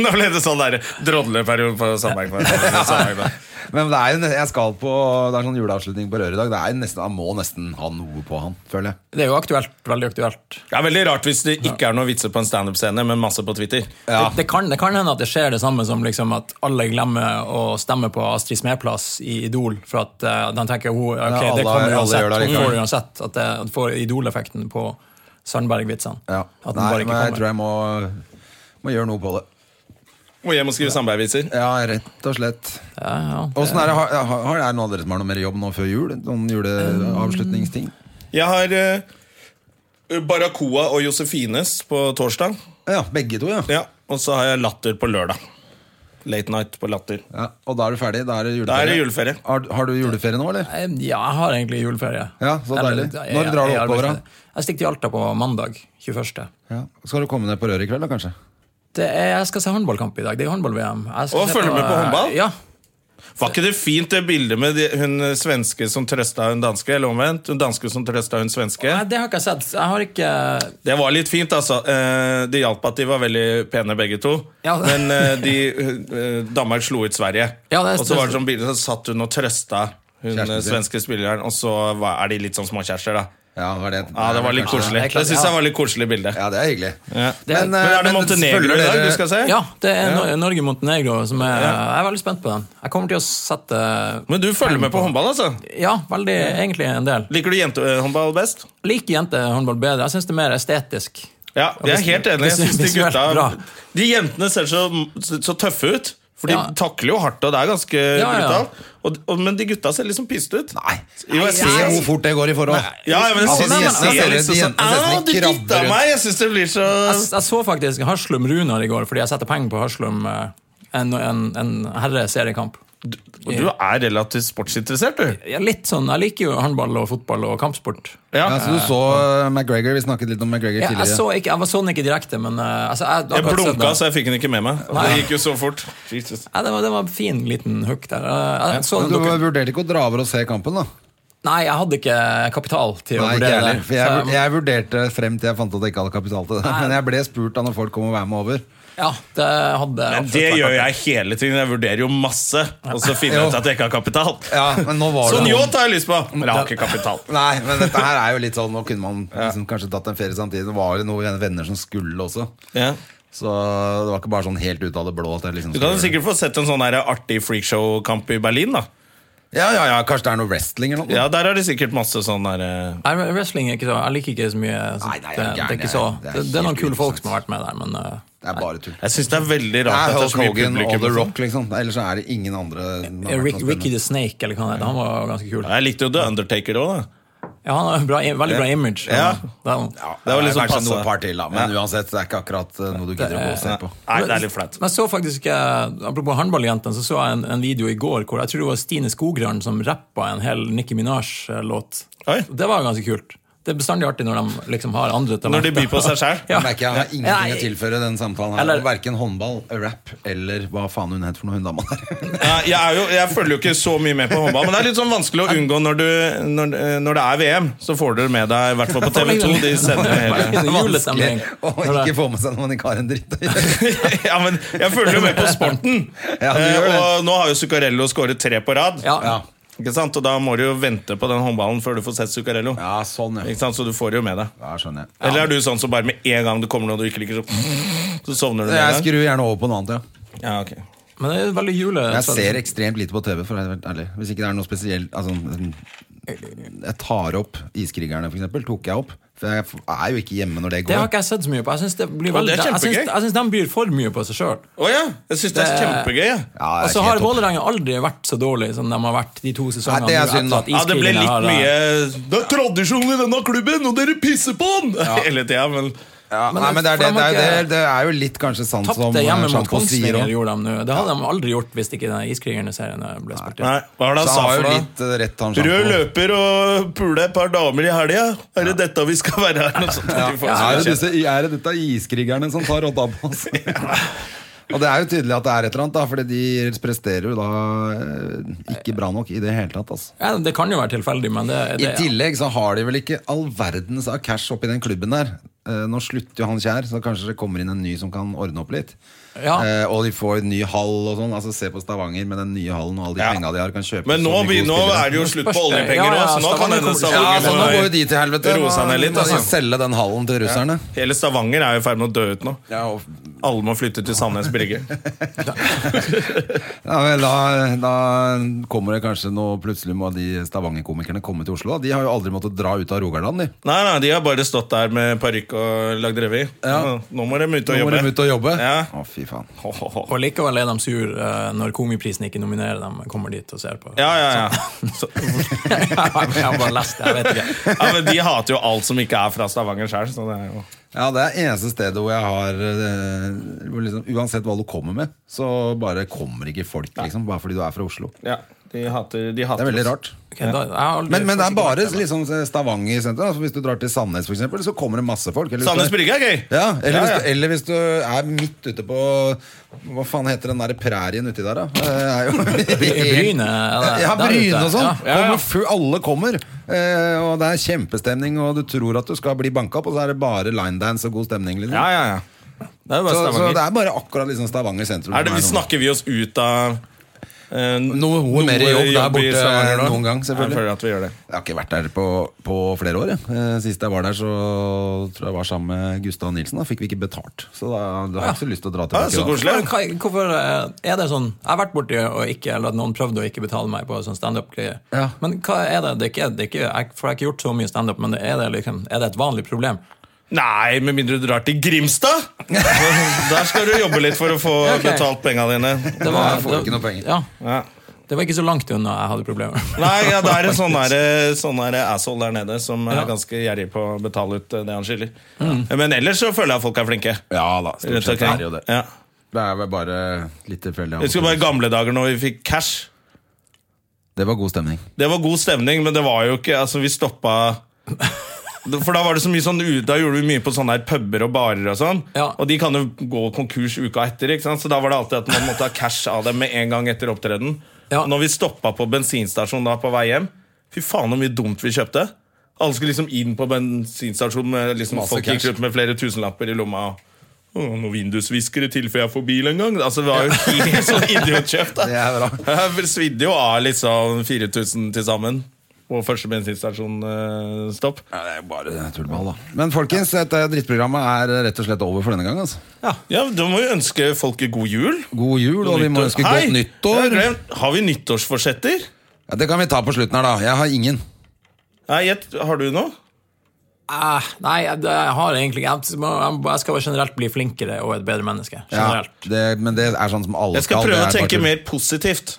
Nå ble det sånn der drodleperiode på Sandberg. Sandberg. Men det er jo, ne- jeg skal på Det er sånn juleavslutning på Røret i dag. Det er jo nesten, jeg må nesten ha noe på han, føler jeg. Det er jo aktuelt, veldig aktuelt. Det er veldig rart hvis det ikke er noen vitser på en standup-scene, men masse på Twitter. Ja. Det, det, kan, det kan hende at det skjer det samme som liksom at alle glemmer å stemme på Astrid Smeplass i Idol. For at eh, de tenker hun, ok, alle- det kommer alle gjør det uansett. Hun likevel. får det uansett At det at det får Idol-effekten på Sandberg-vitsene. Ja. At den Nei, bare men ikke jeg tror kommer. jeg må, må gjøre noe på det. Og jeg må skrive Sandberg-vitser. Ja, rett og slett. Ja, ja. Åssen er det, har, har, har- er det noen av dere som har noe mer jobb nå før jul? Noen juleavslutningsting? Jeg har eh, Barracoa og Josefines på torsdag. Ja, begge to, ja. Ja, Og så har jeg Latter på lørdag. Late night på Latter. ja. Og da er du ferdig? Da er det Da juleferie? er det juleferie. Har, har du juleferie nå, eller? Eh, Ja, jeg har egentlig juleferie. Ja, så deilig. Når drar du jeg- jeg oppover, da? arbeider- Jeg stikker til Alta på mandag 21. Ja. Skal du komme ned på Røret i kveld, da, kanskje? Det er, jeg skal se håndballkamp i dag. Det er håndball-VM. Jeg skal Å, se følger du med på eh, håndball? Ja. Var ikke det fint det bildet med de, hun eh, svenske som trøsta hun danske? Eller omvendt, hun danske som trøsta hun svenske? Nei, det har ikke jeg sett. Jeg har ikke Det var litt fint, altså. Eh, Det hjalp at de var veldig pene begge to. Ja. Men eh, de, eh, Danmark slo ut Sverige. Ja, det er- og så var det sånn bilde, så satt hun og trøsta hun Kjæresten eh, sin. svenske spilleren, og så var, er de litt sånn småkjærester, da. Ja, det var det. Ja, det var litt kanskje- koselig. det er klart, Det syns ja. jeg var litt koselig bilde. Ja, det er hyggelig. eh, Ja. er- Men er det Montenegro i dag du skal se? Ja, det er Nor- Norge-Montenegro som er Jeg er veldig spent på den. Jeg kommer til å sette Men du følger med på håndball, altså? Ja, veldig, egentlig en del. Liker du jentehåndball best? Liker jentehåndball bedre. Jeg syns det er mer estetisk. Ja, jeg er hvis- helt enig. Jeg hvis- synes de visuelt gutta bra. De jentene ser så, så tøffe ut. For de Ja. takler jo hardt, og det er ganske Ja, ja. brutalt. Og, og, men de gutta ser liksom piste ut. Nei. Jo, jeg Se synes- hvor fort det går i forhold. Ja, ja, men jeg Altså, synes de jeg jentene ser ser- liksom de sånn jentene ser ut som Au, de du krabber dytta rundt. meg! Jeg synes det blir så Jeg, jeg så faktisk Haslum Runar i går fordi jeg setter penger på Haslum eh, en, en, en herreseriekamp. Og Du er relativt sportsinteressert, du. Jeg, er litt sånn, jeg liker jo håndball og fotball og kampsport. Ja. Ja, så du så uh, McGregor, vi snakket litt om McGregor Jeg, jeg, tidligere. så ikke, jeg var sånn ikke direkte, men eh, altså, jeg, Jeg akkurat sett blunka, det. så jeg fikk den ikke med meg. Det Nei. gikk jo så fort. Jesus. Ja, det, var, det var en fin liten hook der. Eh, Jeg, så, Men du vurderte ikke å dra over og se kampen, da? nei, jeg hadde ikke kapital til å Nei, ikke vurdere det. heller. For jeg, Så vur- jeg vurderte frem til jeg fant ut at jeg ikke hadde kapital til det. Men jeg ble spurt da når folk kom og var med over. ja, det hadde Men det gjør jeg hele tiden. Jeg vurderer jo masse, og så finner jeg ut at jeg ikke har kapital. Ja, men nå var det Sånn noen- yacht har jeg lyst på, men jeg har ikke kapital. Nei, men dette her er jo litt sånn Nå kunne man liksom, kanskje tatt en ferie samtidig. Det var jo noen venner som skulle også. Ja. Så det var ikke bare sånn helt ut av det blå. At jeg liksom Du kan jo skulle gjøre det. sikkert få sett en sånn her artig freakshow-kamp i Berlin. da Ja, ja, ja, Kanskje det er noe wrestling eller noe? Ja, Der er det sikkert masse sånn der eh, Nei, Wrestling er ikke så Jeg liker ikke så mye. Så Nei, nei, jeg er det, det, er gæren, ikke så, jeg- det, det er det er noen helt kule folk uinteressant. som har vært med der, men eh, Det er bare tull. Jeg syns det er veldig Det rart er at det er Hulk så mye Hogan publikum. og The og sånn. Rock, liksom. Ellers er det ingen andre. som har vært Rick, noe Ricky spennende. the Snake, eller hva han heter, han var ganske kul. Jeg likte jo The Undertaker òg, da. Ja, han har en bra, veldig bra image. Ja. Det er- Ja, Det var liksom kanskje passe. noe par til, da. Men uansett, det er ikke akkurat eh, noe du gidder å gå og se på. Nei, det er litt flaut. Men jeg så faktisk, eh, Apropos håndballjentene, så så jeg en, en video i går hvor jeg tror det var Stine Skogran som rappa en hel Nicki Minaj-låt. Oi. Det var ganske kult. Det er bestandig artig når de liksom har andre talenter. Når de byr på seg sjæl. Ja. Jeg merker jeg har ingenting Nei. å tilføre den samtalen her. Eller- Verken håndball, rap eller hva faen hun het for noe, hun dama der. Ja, jeg, er jo, jeg følger jo ikke så mye med på håndball, men det er litt sånn vanskelig å unngå når, du, når, eh, når det er VM. Så får du det med deg, i hvert fall på TV2. De sender det hele. Sånn julestemning. Å Når ikke det- få med seg når man ikke har en dritt å gjøre. Ja, men jeg følger jo med på sporten. Ja, du Eh, gjør det. Og nå har jo Zuccarello skåret tre på rad. Ja. Ja. Ikke sant? Og da må du jo vente på den håndballen før du får sett Zuccarello. ja, sånn, ja. Ikke sant? Så du får det jo med deg. Ja, skjønner jeg. Eller er du sånn som bare med en gang det kommer noe du ikke liker, så, så sovner du med Jeg en gang? skrur gjerne over på noe annet, ja. Ja, ok. Men det er veldig jule... Jeg ser ekstremt lite på TV, for å være helt ærlig. Hvis ikke det er noe spesielt altså, Jeg tar opp Iskrigerne, for eksempel. Tok jeg opp. For jeg er jo ikke hjemme når det Det har går. ikke jeg sett så mye på. Jeg syns det blir Ja, det veldig, er jeg synes- kjempegøy. jeg synes de byr for mye på seg sjøl. Å ja! Jeg syns det er kjempegøy. jeg. Ja, det er og så ikke har helt topp. Vålerenga aldri vært så dårlig som de har vært de to sesongene. Nei, det er nå, etter synd, da. at Ja, det ble Iskrigerne litt har, eh, mye Det er tradisjon i denne klubben, og dere pisser på den! Hele tida, men Ja, nei, men det er, det, det, er, det, er, det er jo litt kanskje sant som eh, Tapte hjemme mot Sjampo sier Kongsvinger òg. gjorde de nå. Det hadde de aldri gjort hvis ikke den iskrigerne-serien ble spilt inn. Nei, hva er det han Så han sa har for jo noe? litt eh, rett, han Rød Sjampo. løper og pule et par damer i helga. Er det dette vi skal være her? Noe sånt. De får Er seg det, kjeft. disse, er det dette iskrigerne som tar rodda på oss? Og det er jo tydelig at det er et eller annet, da, fordi de presterer jo da eh, ikke bra nok i det hele tatt. Altså. Ja, det kan jo være tilfeldig, men det, I det tillegg så har de vel ikke all verdens av cash oppi den klubben der. Eh, Nå slutter jo han Kjær, så kanskje det kommer inn en ny som kan ordne opp litt. Ja. Eh, og de får en ny hall og sånn. Altså Se på Stavanger med den nye hallen og alle de Ja. penga de har. Kan kjøpe Men nå, så mye blir- gode nå spillere. er det jo slutt på Spørs det. oljepenger Ja, òg, ja, så nå kan Stavanger hende kommer- Stavanger ja, så nå må- går jo de til helvete. Roe seg ned litt, Nå må de altså. Selge den hallen til russerne. Hele Stavanger er jo i ferd med å dø ut nå. Ja, og, Alle må flytte til Sandnes Brygge. ja vel, da, da kommer det kanskje noe Plutselig må de Stavanger-komikerne komme til Oslo. Da. De har jo aldri måttet dra ut av Rogaland, de. Nei, nei, de har bare stått der med parykk og lagd revy. Ja. Nå må de ut og Nå må jobbe. de ut og jobbe. Ja. Å, fy faen. er, og likevel er de sur eh, når Komiprisen ikke nominerer dem. Kommer dit og ser på. Ja, ja, ja. Så, jeg har bare lest det, jeg vet ikke. ja men de hater jo alt som ikke er fra Stavanger sjøl. Så det er jo Ja, det er eneste stedet hvor jeg har eh, hvor liksom, Uansett hva du kommer med, så bare kommer ikke folk, liksom. Bare fordi du er fra Oslo. Ja, de hater, de Det hater er veldig oss. rart. Ok, da, jeg har aldri- Men, men det er bare faktisk ikke vært liksom Stavanger sentrum. Altså, hvis du drar til Sandnes, for eksempel, så kommer det masse folk. Eller hvis Sandnes du- Brygge er gøy! Ja, Ja, eller, ja. Hvis du, eller hvis du er midt ute på Hva faen heter den der prærien uti der, da? Det er jo- der. Bryne, eller, Ja, der Bryne ute. og sånn. Ja, ja, Kommer fu- alle kommer. Eh, og det er kjempestemning, og du tror at du skal bli banka opp, og så er det bare linedance og god stemning. Liksom. Ja, ja, ja. Det er jo bare Så, så Stavanger. det er bare akkurat liksom Stavanger sentrum. er det, som vi sånn. snakker vi oss ut av eh, Noe mer noe jobb der i borte Stavanger nå? enn noen gang, Jeg selvfølgelig. føler at vi gjør det. Jeg har ikke vært der på, på flere år. jeg. Eh, Sist jeg var der, så tror jeg jeg var sammen med Gustav Nilsen. Da fikk vi ikke betalt. Så da, da har jeg ikke så lyst til å Ja, dra tilbake. så da. koselig. Men hva- Hvorfor eh, er det sånn Jeg har vært borti og ikke Eller at noen prøvde å ikke betale meg på sånn standup-greier. Ja. Men hva er det? det, er ikke, det er ikke, jeg, for jeg har ikke gjort så mye standup, men er det, liksom, er det et vanlig problem? Nei, med mindre du drar til Grimstad! Der skal du jobbe litt for å få Ok. betalt penga dine. Det Nei, jeg får ikke noe penger. Ja, Ja. det var ikke så langt unna jeg hadde problemer. Nei, ja, det er en sånn der- sånn der asshole der nede som er Ja. ganske gjerrig på å betale ut eh, det han skylder. Men ellers så føler jeg at folk er flinke. Ja da, stort Rett sett omkring. Mm. er det jo det. Ja. Det er vel bare litt tilfeldig. Jeg husker bare gamle dager når vi fikk cash. Det var god stemning. Det var god stemning, men det var jo ikke Altså, vi stoppa For da var det så mye sånn u- Da gjorde vi mye på sånne her puber og barer og sånn. Ja. Og de kan jo gå konkurs uka etter, ikke sant? så da var det alltid at man måtte ha cash av dem med en gang etter opptreden. Ja. Og Når vi stoppa på bensinstasjonen da på vei hjem, fy faen så mye dumt vi kjøpte. Alle skulle liksom inn på bensinstasjonen med liksom Masse folk gikk cash. rundt med flere tusenlapper i lomma. og «Å, noen vindusviskere til før jeg får bil en gang. Altså, Det var jo helt sånn idiotkjøpt. da. Det er bra. Jeg svidde jo av liksom 4000 til sammen på første eh, bensinstasjonstopp. Ja, det er jo bare tullball, da. Men folkens, dette drittprogrammet er rett og slett over for denne gang. Altså. Ja, Da må vi ønske folk god jul. God jul, og vi må Nyttår. ønske Hei! godt Jeg har nyttår. glemt. Har vi nyttårsforsetter? Ja, det kan vi ta på slutten her, da. Jeg har ingen. Nei, gjett. Har du noe? Eh, nei, jeg, jeg har egentlig ikke jeg, må- jeg, jeg skal bare generelt bli flinkere og et bedre menneske. Ja, Generelt. det, men det er sånn som alle Jeg skal det prøve å er bare tenke tull. mer positivt.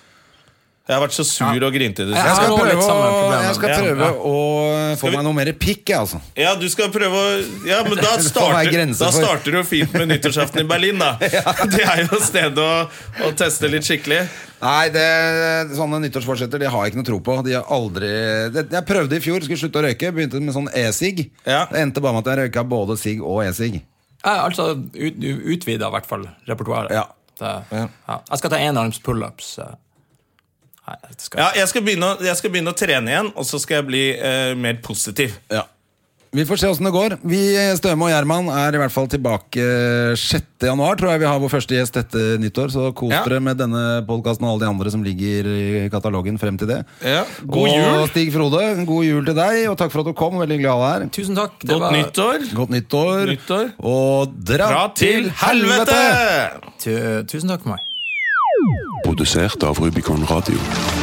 Jeg har vært så sur og grinte i det Ja. siste. Jeg skal Jeg har litt prøve, samme å, problemer. jeg skal Ja. prøve Ja. å få vi- meg noe mer pikk, jeg, altså. Ja, du skal prøve å Ja, men da Det får være starter, grenser da for- starter du fint med nyttårsaften i Berlin, da. Det er jo stedet å, å teste litt skikkelig. Nei, det, sånne nyttårsforsetter De har jeg ikke noe tro på. De har aldri det, Jeg prøvde i fjor, skulle slutte å røyke. Begynte med sånn e-sigg. Ja. Det endte bare med at jeg røyka både sigg og e-sigg. Eh, altså ut, utvida i hvert fall repertoaret. Ja. Det, ja. Jeg skal ta enarms pullups. eh. Nei, det skal Ja, jeg skal, begynne, å- jeg skal begynne å trene igjen, og så skal jeg bli eh, mer positiv. Vi får se åssen det går. Vi, Støme og Gjerman er i hvert fall tilbake 6. januar, tror jeg vi har vår første gjest etter nyttår. Så kos Ja. dere med denne podkasten og alle de andre som ligger i katalogen frem til det. Ja. God Og jul! Stig Frode, god jul til deg, og takk for at du kom. Veldig glad du er. Tusen takk. Det Godt nyttår. Godt nyttår. Nyttår. Og dra, Dra til helvete! Tu, tusen takk for meg. produsert av Rubicon Radio.